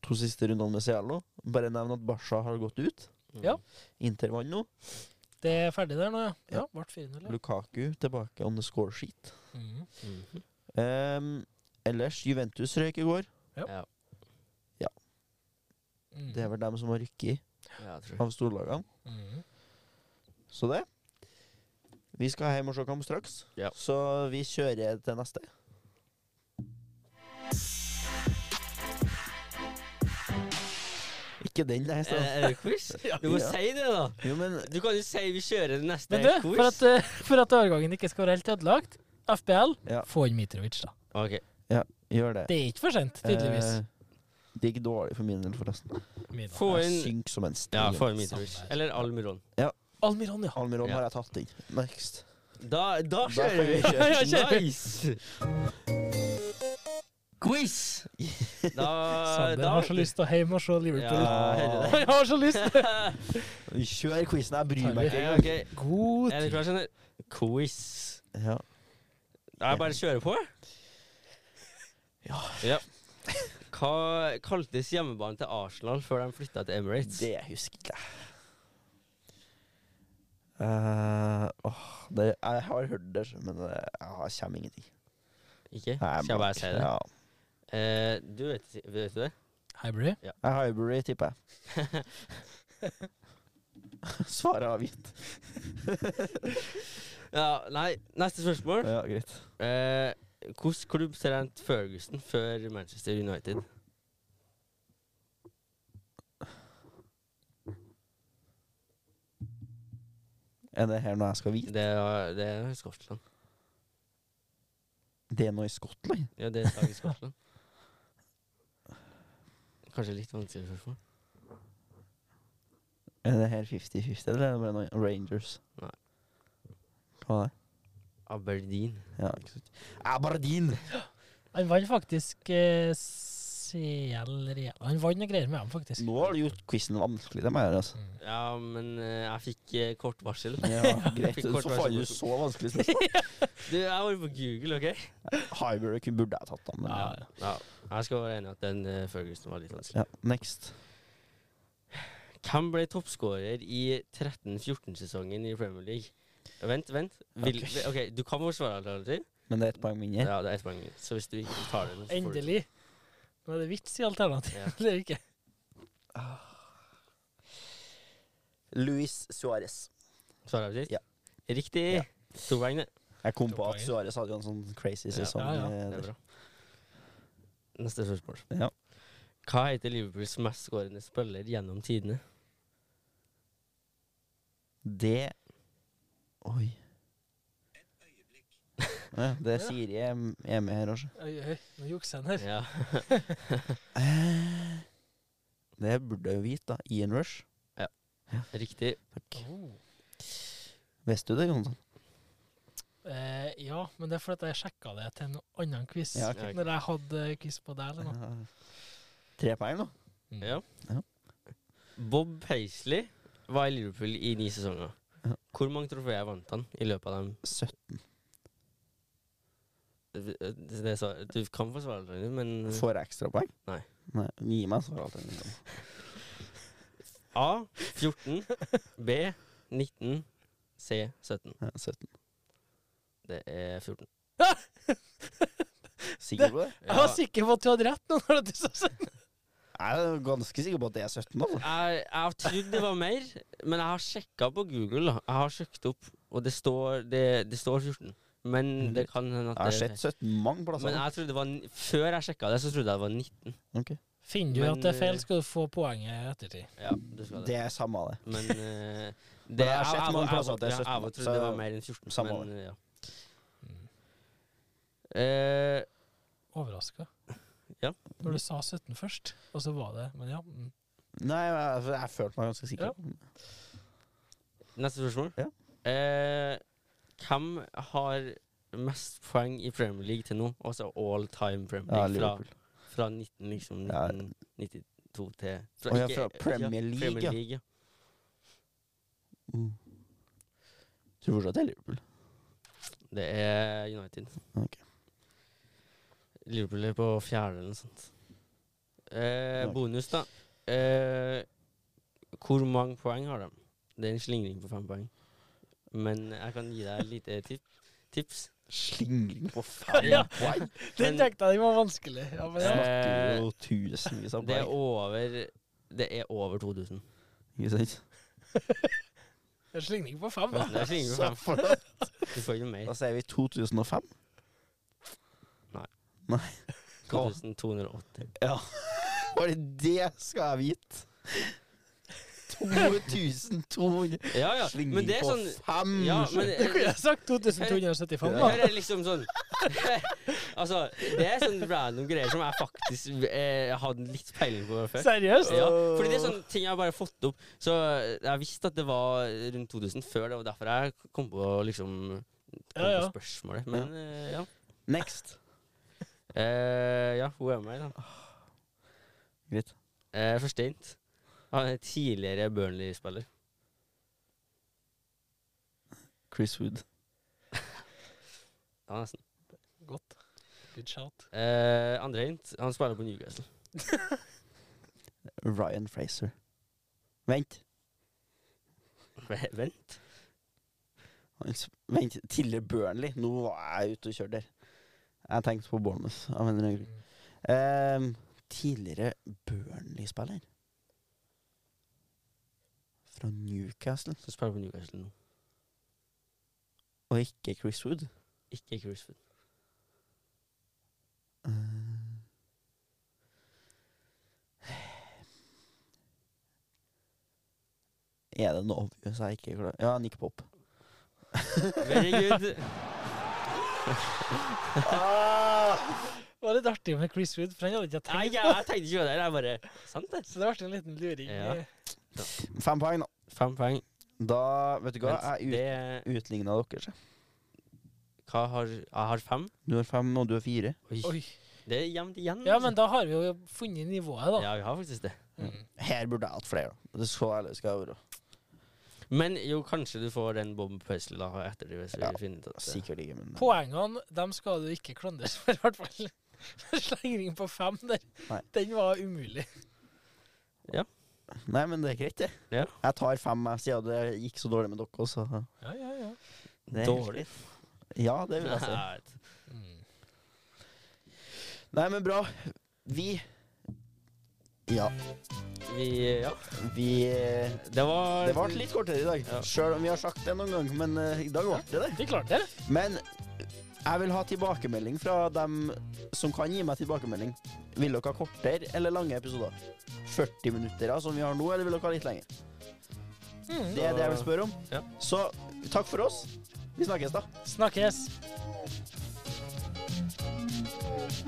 Speaker 1: to siste rundene med Cielo. Bare nevn at Basha har gått ut.
Speaker 3: Mm.
Speaker 2: Ja.
Speaker 1: Inter vant nå.
Speaker 2: Det er ferdig der nå, ja.
Speaker 1: Ja.
Speaker 2: Ja, Ble 4-0. ja.
Speaker 1: Lukaku tilbake on the score sheet.
Speaker 2: Mhm.
Speaker 3: Mhm.
Speaker 1: Ehm, ellers Juventus røyk i går.
Speaker 3: Ja.
Speaker 2: Mhm.
Speaker 1: Det er vel dem som har rykket
Speaker 3: ja, jeg tror det.
Speaker 1: av storlagene.
Speaker 2: Mhm.
Speaker 1: Så det. Vi skal hjem og se kamp straks,
Speaker 3: Ja.
Speaker 1: så vi kjører til neste. Ikke den, nei.
Speaker 3: Er
Speaker 1: Stian.
Speaker 3: er det
Speaker 2: [laughs]
Speaker 3: quiz? Du må
Speaker 1: Ja.
Speaker 3: si det, da.
Speaker 1: Jo, men
Speaker 3: Du kan jo si vi kjører det neste
Speaker 2: Men du, for
Speaker 3: quiz.
Speaker 2: at, eh, [laughs] for at årgangen ikke skal være helt ødelagt, FBL,
Speaker 1: Ja.
Speaker 2: få inn Mitrovic, da.
Speaker 3: Ok.
Speaker 1: gjør det.
Speaker 2: Det er ikke for sent, tydeligvis.
Speaker 1: Eh, det gikk dårlig for min del, forresten.
Speaker 2: Mina.
Speaker 3: Få
Speaker 1: Eh, Jeg
Speaker 3: inn
Speaker 1: synker som en stein.
Speaker 3: Ja, få inn Mitrovic.
Speaker 2: Samme her.
Speaker 3: Eller Almiron.
Speaker 2: Almiron, ja.
Speaker 1: Almiron
Speaker 3: Ja.
Speaker 1: har jeg tatt inn. Next.
Speaker 3: Da, da
Speaker 1: Da
Speaker 3: kjører
Speaker 1: kan
Speaker 3: vi.
Speaker 1: vi kjøre.
Speaker 3: [laughs] Ja,
Speaker 2: kjører.
Speaker 3: Nice. Quiz! Da,
Speaker 2: Sander
Speaker 3: da
Speaker 2: har så lyst til å hjem og se Liverpool.
Speaker 3: Ja,
Speaker 1: hører
Speaker 2: [laughs] Han har så lyst!
Speaker 1: Kjør quizen, jeg bryr meg ikke.
Speaker 3: Ja, [laughs] ok.
Speaker 2: God
Speaker 3: Er du
Speaker 2: tid.
Speaker 3: klar, Sander? Quiz.
Speaker 1: Ja.
Speaker 3: Jeg bare kjører på.
Speaker 1: Ja.
Speaker 3: Hva kaltes hjemmebanen til Arsenal før de flytta til Emirates?
Speaker 1: Det husker ikke jeg. Eh, åh, det, jeg har hørt det, men eh, jeg kommer ingenting.
Speaker 3: Ikke?
Speaker 1: Jeg er
Speaker 3: Skal jeg bare
Speaker 1: blank.
Speaker 3: si det?
Speaker 1: Ja.
Speaker 3: Eh, du vet, vet du det?
Speaker 2: Hybrid.
Speaker 1: Jeg har Ivory,
Speaker 3: [laughs]
Speaker 1: tipper jeg. Svaret er avgitt.
Speaker 3: Ja, nei, neste spørsmål.
Speaker 1: Ja, greit.
Speaker 3: Eh, Hvilken klubb trente Ferguson før Manchester United?
Speaker 1: Er det her noe jeg skal vite?
Speaker 3: Det er, det er Skottland.
Speaker 1: Det er noe i Skottland?
Speaker 3: Ja, det er et lag i Skottland. Kanskje litt vanskeligere spørsmål.
Speaker 1: Er det her 50-50, eller er det bare noe Rangers?
Speaker 3: Nei.
Speaker 1: Hva er det?
Speaker 3: Aberdeen.
Speaker 1: Ja, ikke sant. Aberdeen!
Speaker 2: Han vant faktisk eh, CL Real. Han vant noen greier med dem, faktisk.
Speaker 1: Nå har du gjort quizen vanskelig, det må jeg gjøre, altså.
Speaker 2: Mm.
Speaker 3: Ja, men eh, jeg fikk eh, kort varsel.
Speaker 1: Ja, greit.
Speaker 3: Fikk kort
Speaker 1: Så fant
Speaker 3: versjon.
Speaker 1: du så vanskelig spørsmål.
Speaker 3: Du, jeg var på Google, OK?
Speaker 1: Highbury kunne- burde jeg tatt, da. Men,
Speaker 2: Ja,
Speaker 1: ja.
Speaker 2: ja.
Speaker 3: Ja, jeg skal være enig i at den eh, Ferguson var litt vanskelig.
Speaker 1: next.
Speaker 3: Hvem ble toppskårer i 13-14-sesongen i Premier League? Vent, vent. Vil, ok, Du kan forsvare alternativ.
Speaker 1: Men det er ett poeng mindre.
Speaker 3: Ja, det er ett poeng. Så hvis du ikke tar det nå, så får du-
Speaker 2: Endelig. Nå er det vits i alternativ, [laughs]
Speaker 3: Ja.
Speaker 2: eller ikke?
Speaker 1: Luis Suárez.
Speaker 3: Svarer jeg riktig?
Speaker 1: Ja.
Speaker 3: Riktig.
Speaker 1: Ja.
Speaker 3: To poeng, det.
Speaker 1: Jeg kom på
Speaker 2: To
Speaker 1: at
Speaker 2: poeng.
Speaker 1: Suárez hadde jo en sånn crazy
Speaker 3: Ja.
Speaker 1: sesong.
Speaker 2: Ja, ja.
Speaker 1: eh,
Speaker 3: Det er
Speaker 1: der.
Speaker 3: bra. Neste spørsmål.
Speaker 1: Ja.
Speaker 3: Hva heter Liverpools mest skårende spiller gjennom tidene?
Speaker 1: Det Oi. Ja, det er Siri er er med her altså. også.
Speaker 2: Oi, oi, nå jukser han her.
Speaker 3: Ja. [laughs]
Speaker 1: Eh, Det burde jeg jo vite, da. Ian Rush.
Speaker 3: Riktig.
Speaker 2: Oh.
Speaker 1: Visste du det, Jonathan?
Speaker 2: Eh, ja, men det er fordi jeg sjekka det til en annen quiz.
Speaker 1: Ja,
Speaker 3: ok.
Speaker 2: Når jeg hadde quiz på deg eller noe.
Speaker 1: Ja. [laughs] Tre poeng nå.
Speaker 2: Mm.
Speaker 3: Ja.
Speaker 1: Ja.
Speaker 3: Bob Paisley var i Liverpool i ni sesonger.
Speaker 1: Ja.
Speaker 3: Hvor mange trofeer vant han i løpet av dem?
Speaker 1: 17.
Speaker 3: Det sa, du kan få svare, Ragnhild, men
Speaker 1: Får jeg ekstrapoeng?
Speaker 3: Nei.
Speaker 1: Nei. Gi meg svaralternativet.
Speaker 3: A 14, B 19, C 17.
Speaker 1: Ja, 17.
Speaker 3: Det er 14.
Speaker 1: Sikker på det?
Speaker 2: Jeg var sikker på at du hadde rett nå. når du sa sånn.
Speaker 1: Jeg er ganske sikker på at det er 17. Altså.
Speaker 3: Jeg, jeg trodde det var mer, men jeg har sjekka på Google. da. Jeg har søkt opp, og det står, det, det står 14. Men det kan hende
Speaker 1: Mm. Jeg har
Speaker 3: at det er
Speaker 1: sett altså. 17 mange
Speaker 3: feil.
Speaker 1: plasser.
Speaker 3: Men jeg trodde det var, ni- før jeg sjekka det, så trodde jeg det var 19.
Speaker 1: Ok.
Speaker 2: Finner du
Speaker 3: Men,
Speaker 2: at det er
Speaker 3: eh,
Speaker 2: feil, skal du få poenget i ettertid.
Speaker 3: Ja, du skal
Speaker 1: Det
Speaker 3: det.
Speaker 1: er samme av det.
Speaker 3: Men eh, det,
Speaker 1: jeg har sett mange
Speaker 3: jeg-
Speaker 1: plasser at det er
Speaker 3: jeg-
Speaker 1: 17,
Speaker 3: Jeg trodde
Speaker 1: så
Speaker 3: det var mer enn 14.
Speaker 1: samme
Speaker 3: men, ja. Eh,
Speaker 2: Overraska.
Speaker 3: [laughs] Ja.
Speaker 2: Når du sa 17 først, og så var det Men ja. Mm.
Speaker 1: Nei, jeg, altså, jeg følte meg ganske sikker.
Speaker 3: neste spørsmål.
Speaker 1: Ja.
Speaker 3: Eh, hvem har mest poeng i Premier League til nå? Altså all time Premier
Speaker 1: Ja,
Speaker 3: League fra
Speaker 1: Liverpool.
Speaker 3: Fra 19, liksom,
Speaker 1: Ja.
Speaker 3: 1992 til
Speaker 1: Å ja, fra Premier League, ja.
Speaker 3: Premier League ja.
Speaker 1: Mm. Tror fortsatt det er Liverpool.
Speaker 3: Det er United.
Speaker 1: Ok.
Speaker 3: Liverpool er på fjerde eller noe sånt. Eh,
Speaker 1: Lag.
Speaker 3: bonus, da. Eh, hvor mange poeng har de? Det er en slingring på fem poeng. Men jeg kan gi deg et lite tip tips. Eh,
Speaker 1: Slingring på
Speaker 3: Ja.
Speaker 1: fem poeng!
Speaker 2: Den
Speaker 3: Men-
Speaker 2: tenkte jeg den var vanskelig. Ja, men ja.
Speaker 1: Snakker
Speaker 3: Eh,
Speaker 1: jo tusenvis av
Speaker 3: Det er
Speaker 1: poeng.
Speaker 3: over Det er over
Speaker 1: [laughs]
Speaker 3: 2000.
Speaker 1: Ikke sant?
Speaker 2: En slingring på fem, da.
Speaker 3: Det er slingring på
Speaker 1: Så
Speaker 3: fem.
Speaker 1: flott.
Speaker 3: Du får ikke mer.
Speaker 1: Da sier vi 2005.
Speaker 3: 2280.
Speaker 1: Bare det skal jeg
Speaker 3: [laughs]
Speaker 1: vite! 2200
Speaker 3: Ja, ja. Men
Speaker 1: slingring
Speaker 3: det er
Speaker 1: på
Speaker 3: sånn
Speaker 1: fem!
Speaker 3: Ja,
Speaker 2: [laughs]
Speaker 3: men eh,
Speaker 2: Du kunne jeg sagt 2275, da.
Speaker 3: Her er liksom sånn [laughs] Altså, det er sånn random greier som jeg faktisk eh, hadde litt peiling på før.
Speaker 2: [laughs] Seriøst?
Speaker 3: Ja, fordi det er sånn ting jeg bare har fått opp. Så jeg visste at det var rundt 2000 før, det var derfor jeg kom på liksom kom
Speaker 2: Ja, ja.
Speaker 3: på spørsmålet. Men eh, ja.
Speaker 1: Next.
Speaker 3: Eh, ja, hun er med, da.
Speaker 1: Greit.
Speaker 3: Eh, Forsteint. Han er tidligere Burnley-spiller.
Speaker 1: Chris Wood.
Speaker 3: Ja, nesten.
Speaker 2: Godt. Good shout.
Speaker 3: Eh, andre hint. Han spiller på Newcastle.
Speaker 1: Ryan Fraser. Vent.
Speaker 3: Vent.
Speaker 1: Han s- Vent. Tidligere Burnley. Nå var jeg ute og kjørte der. Jeg tenkte på Bournemouth. Av en eller annen grunn. Ehm, tidligere Burnley-spiller. Fra Newcastle.
Speaker 3: Så spiller på Newcastle nå.
Speaker 1: Og ikke Chris Wood.
Speaker 3: Ikke Cruiseford.
Speaker 1: Ehm. Er det noe obvious jeg ikke klarer Ja, Nick Pop.
Speaker 3: Very good.
Speaker 2: Det Ah! var litt artig med Chris Wood, for han hadde ikke
Speaker 3: Nei,
Speaker 2: tenkt på
Speaker 3: jeg, jeg tenkte ikke på det. Jeg bare Sant, det.
Speaker 2: Så det ble en liten luring.
Speaker 3: Ja.
Speaker 1: Fem poeng, da.
Speaker 3: Fem poeng.
Speaker 1: Da, vet du hva,
Speaker 3: Vent,
Speaker 1: jeg
Speaker 3: det
Speaker 1: ut, utligna dere, se.
Speaker 3: Hva har Jeg har fem.
Speaker 1: Du har fem, og du har fire.
Speaker 3: Oi.
Speaker 2: Oi.
Speaker 3: Det er jevnt igjen.
Speaker 2: Ja,
Speaker 3: altså.
Speaker 2: men da har vi jo funnet nivået, da.
Speaker 3: Ja, vi har faktisk det.
Speaker 2: Mm.
Speaker 1: Her burde jeg hatt flere, da. Det så ærlig skal jeg være.
Speaker 3: Men jo, kanskje du får den Bob Puzzle da etter det, hvis vi
Speaker 1: Ja,
Speaker 3: finner ut at det.
Speaker 1: Sikkert ikke, men
Speaker 2: Poengene dem skal du ikke klandres for, i hvert fall. [laughs] Slengring på fem der,
Speaker 1: Nei.
Speaker 2: den var umulig.
Speaker 1: Nei, men det er greit, det.
Speaker 3: Ja.
Speaker 1: Jeg tar fem, jeg, siden det gikk så dårlig med dere også.
Speaker 2: Ja, ja, ja.
Speaker 1: Det er helt
Speaker 3: Dårlig.
Speaker 1: Ja, det vil jeg
Speaker 3: [laughs]
Speaker 1: si.
Speaker 3: Nei, vet du.
Speaker 2: Mm.
Speaker 1: Nei, men bra. Vi Ja,
Speaker 3: Vi, ja.
Speaker 1: vi Det
Speaker 3: Det var
Speaker 1: ble litt kortere i dag,
Speaker 3: Ja.
Speaker 1: sjøl om vi har sagt det noen gang, men eh, i dag ble det det.
Speaker 2: De klarte det.
Speaker 1: Men jeg vil ha tilbakemelding fra dem som kan gi meg tilbakemelding. Vil dere ha kortere eller lange episoder? 40 minutter, ja, som vi har nå, eller vil dere ha litt lenger?
Speaker 2: Mm.
Speaker 1: Det er det jeg vil spørre om.
Speaker 3: Ja.
Speaker 1: Så takk for oss. Vi snakkes, da.
Speaker 2: Snakkes.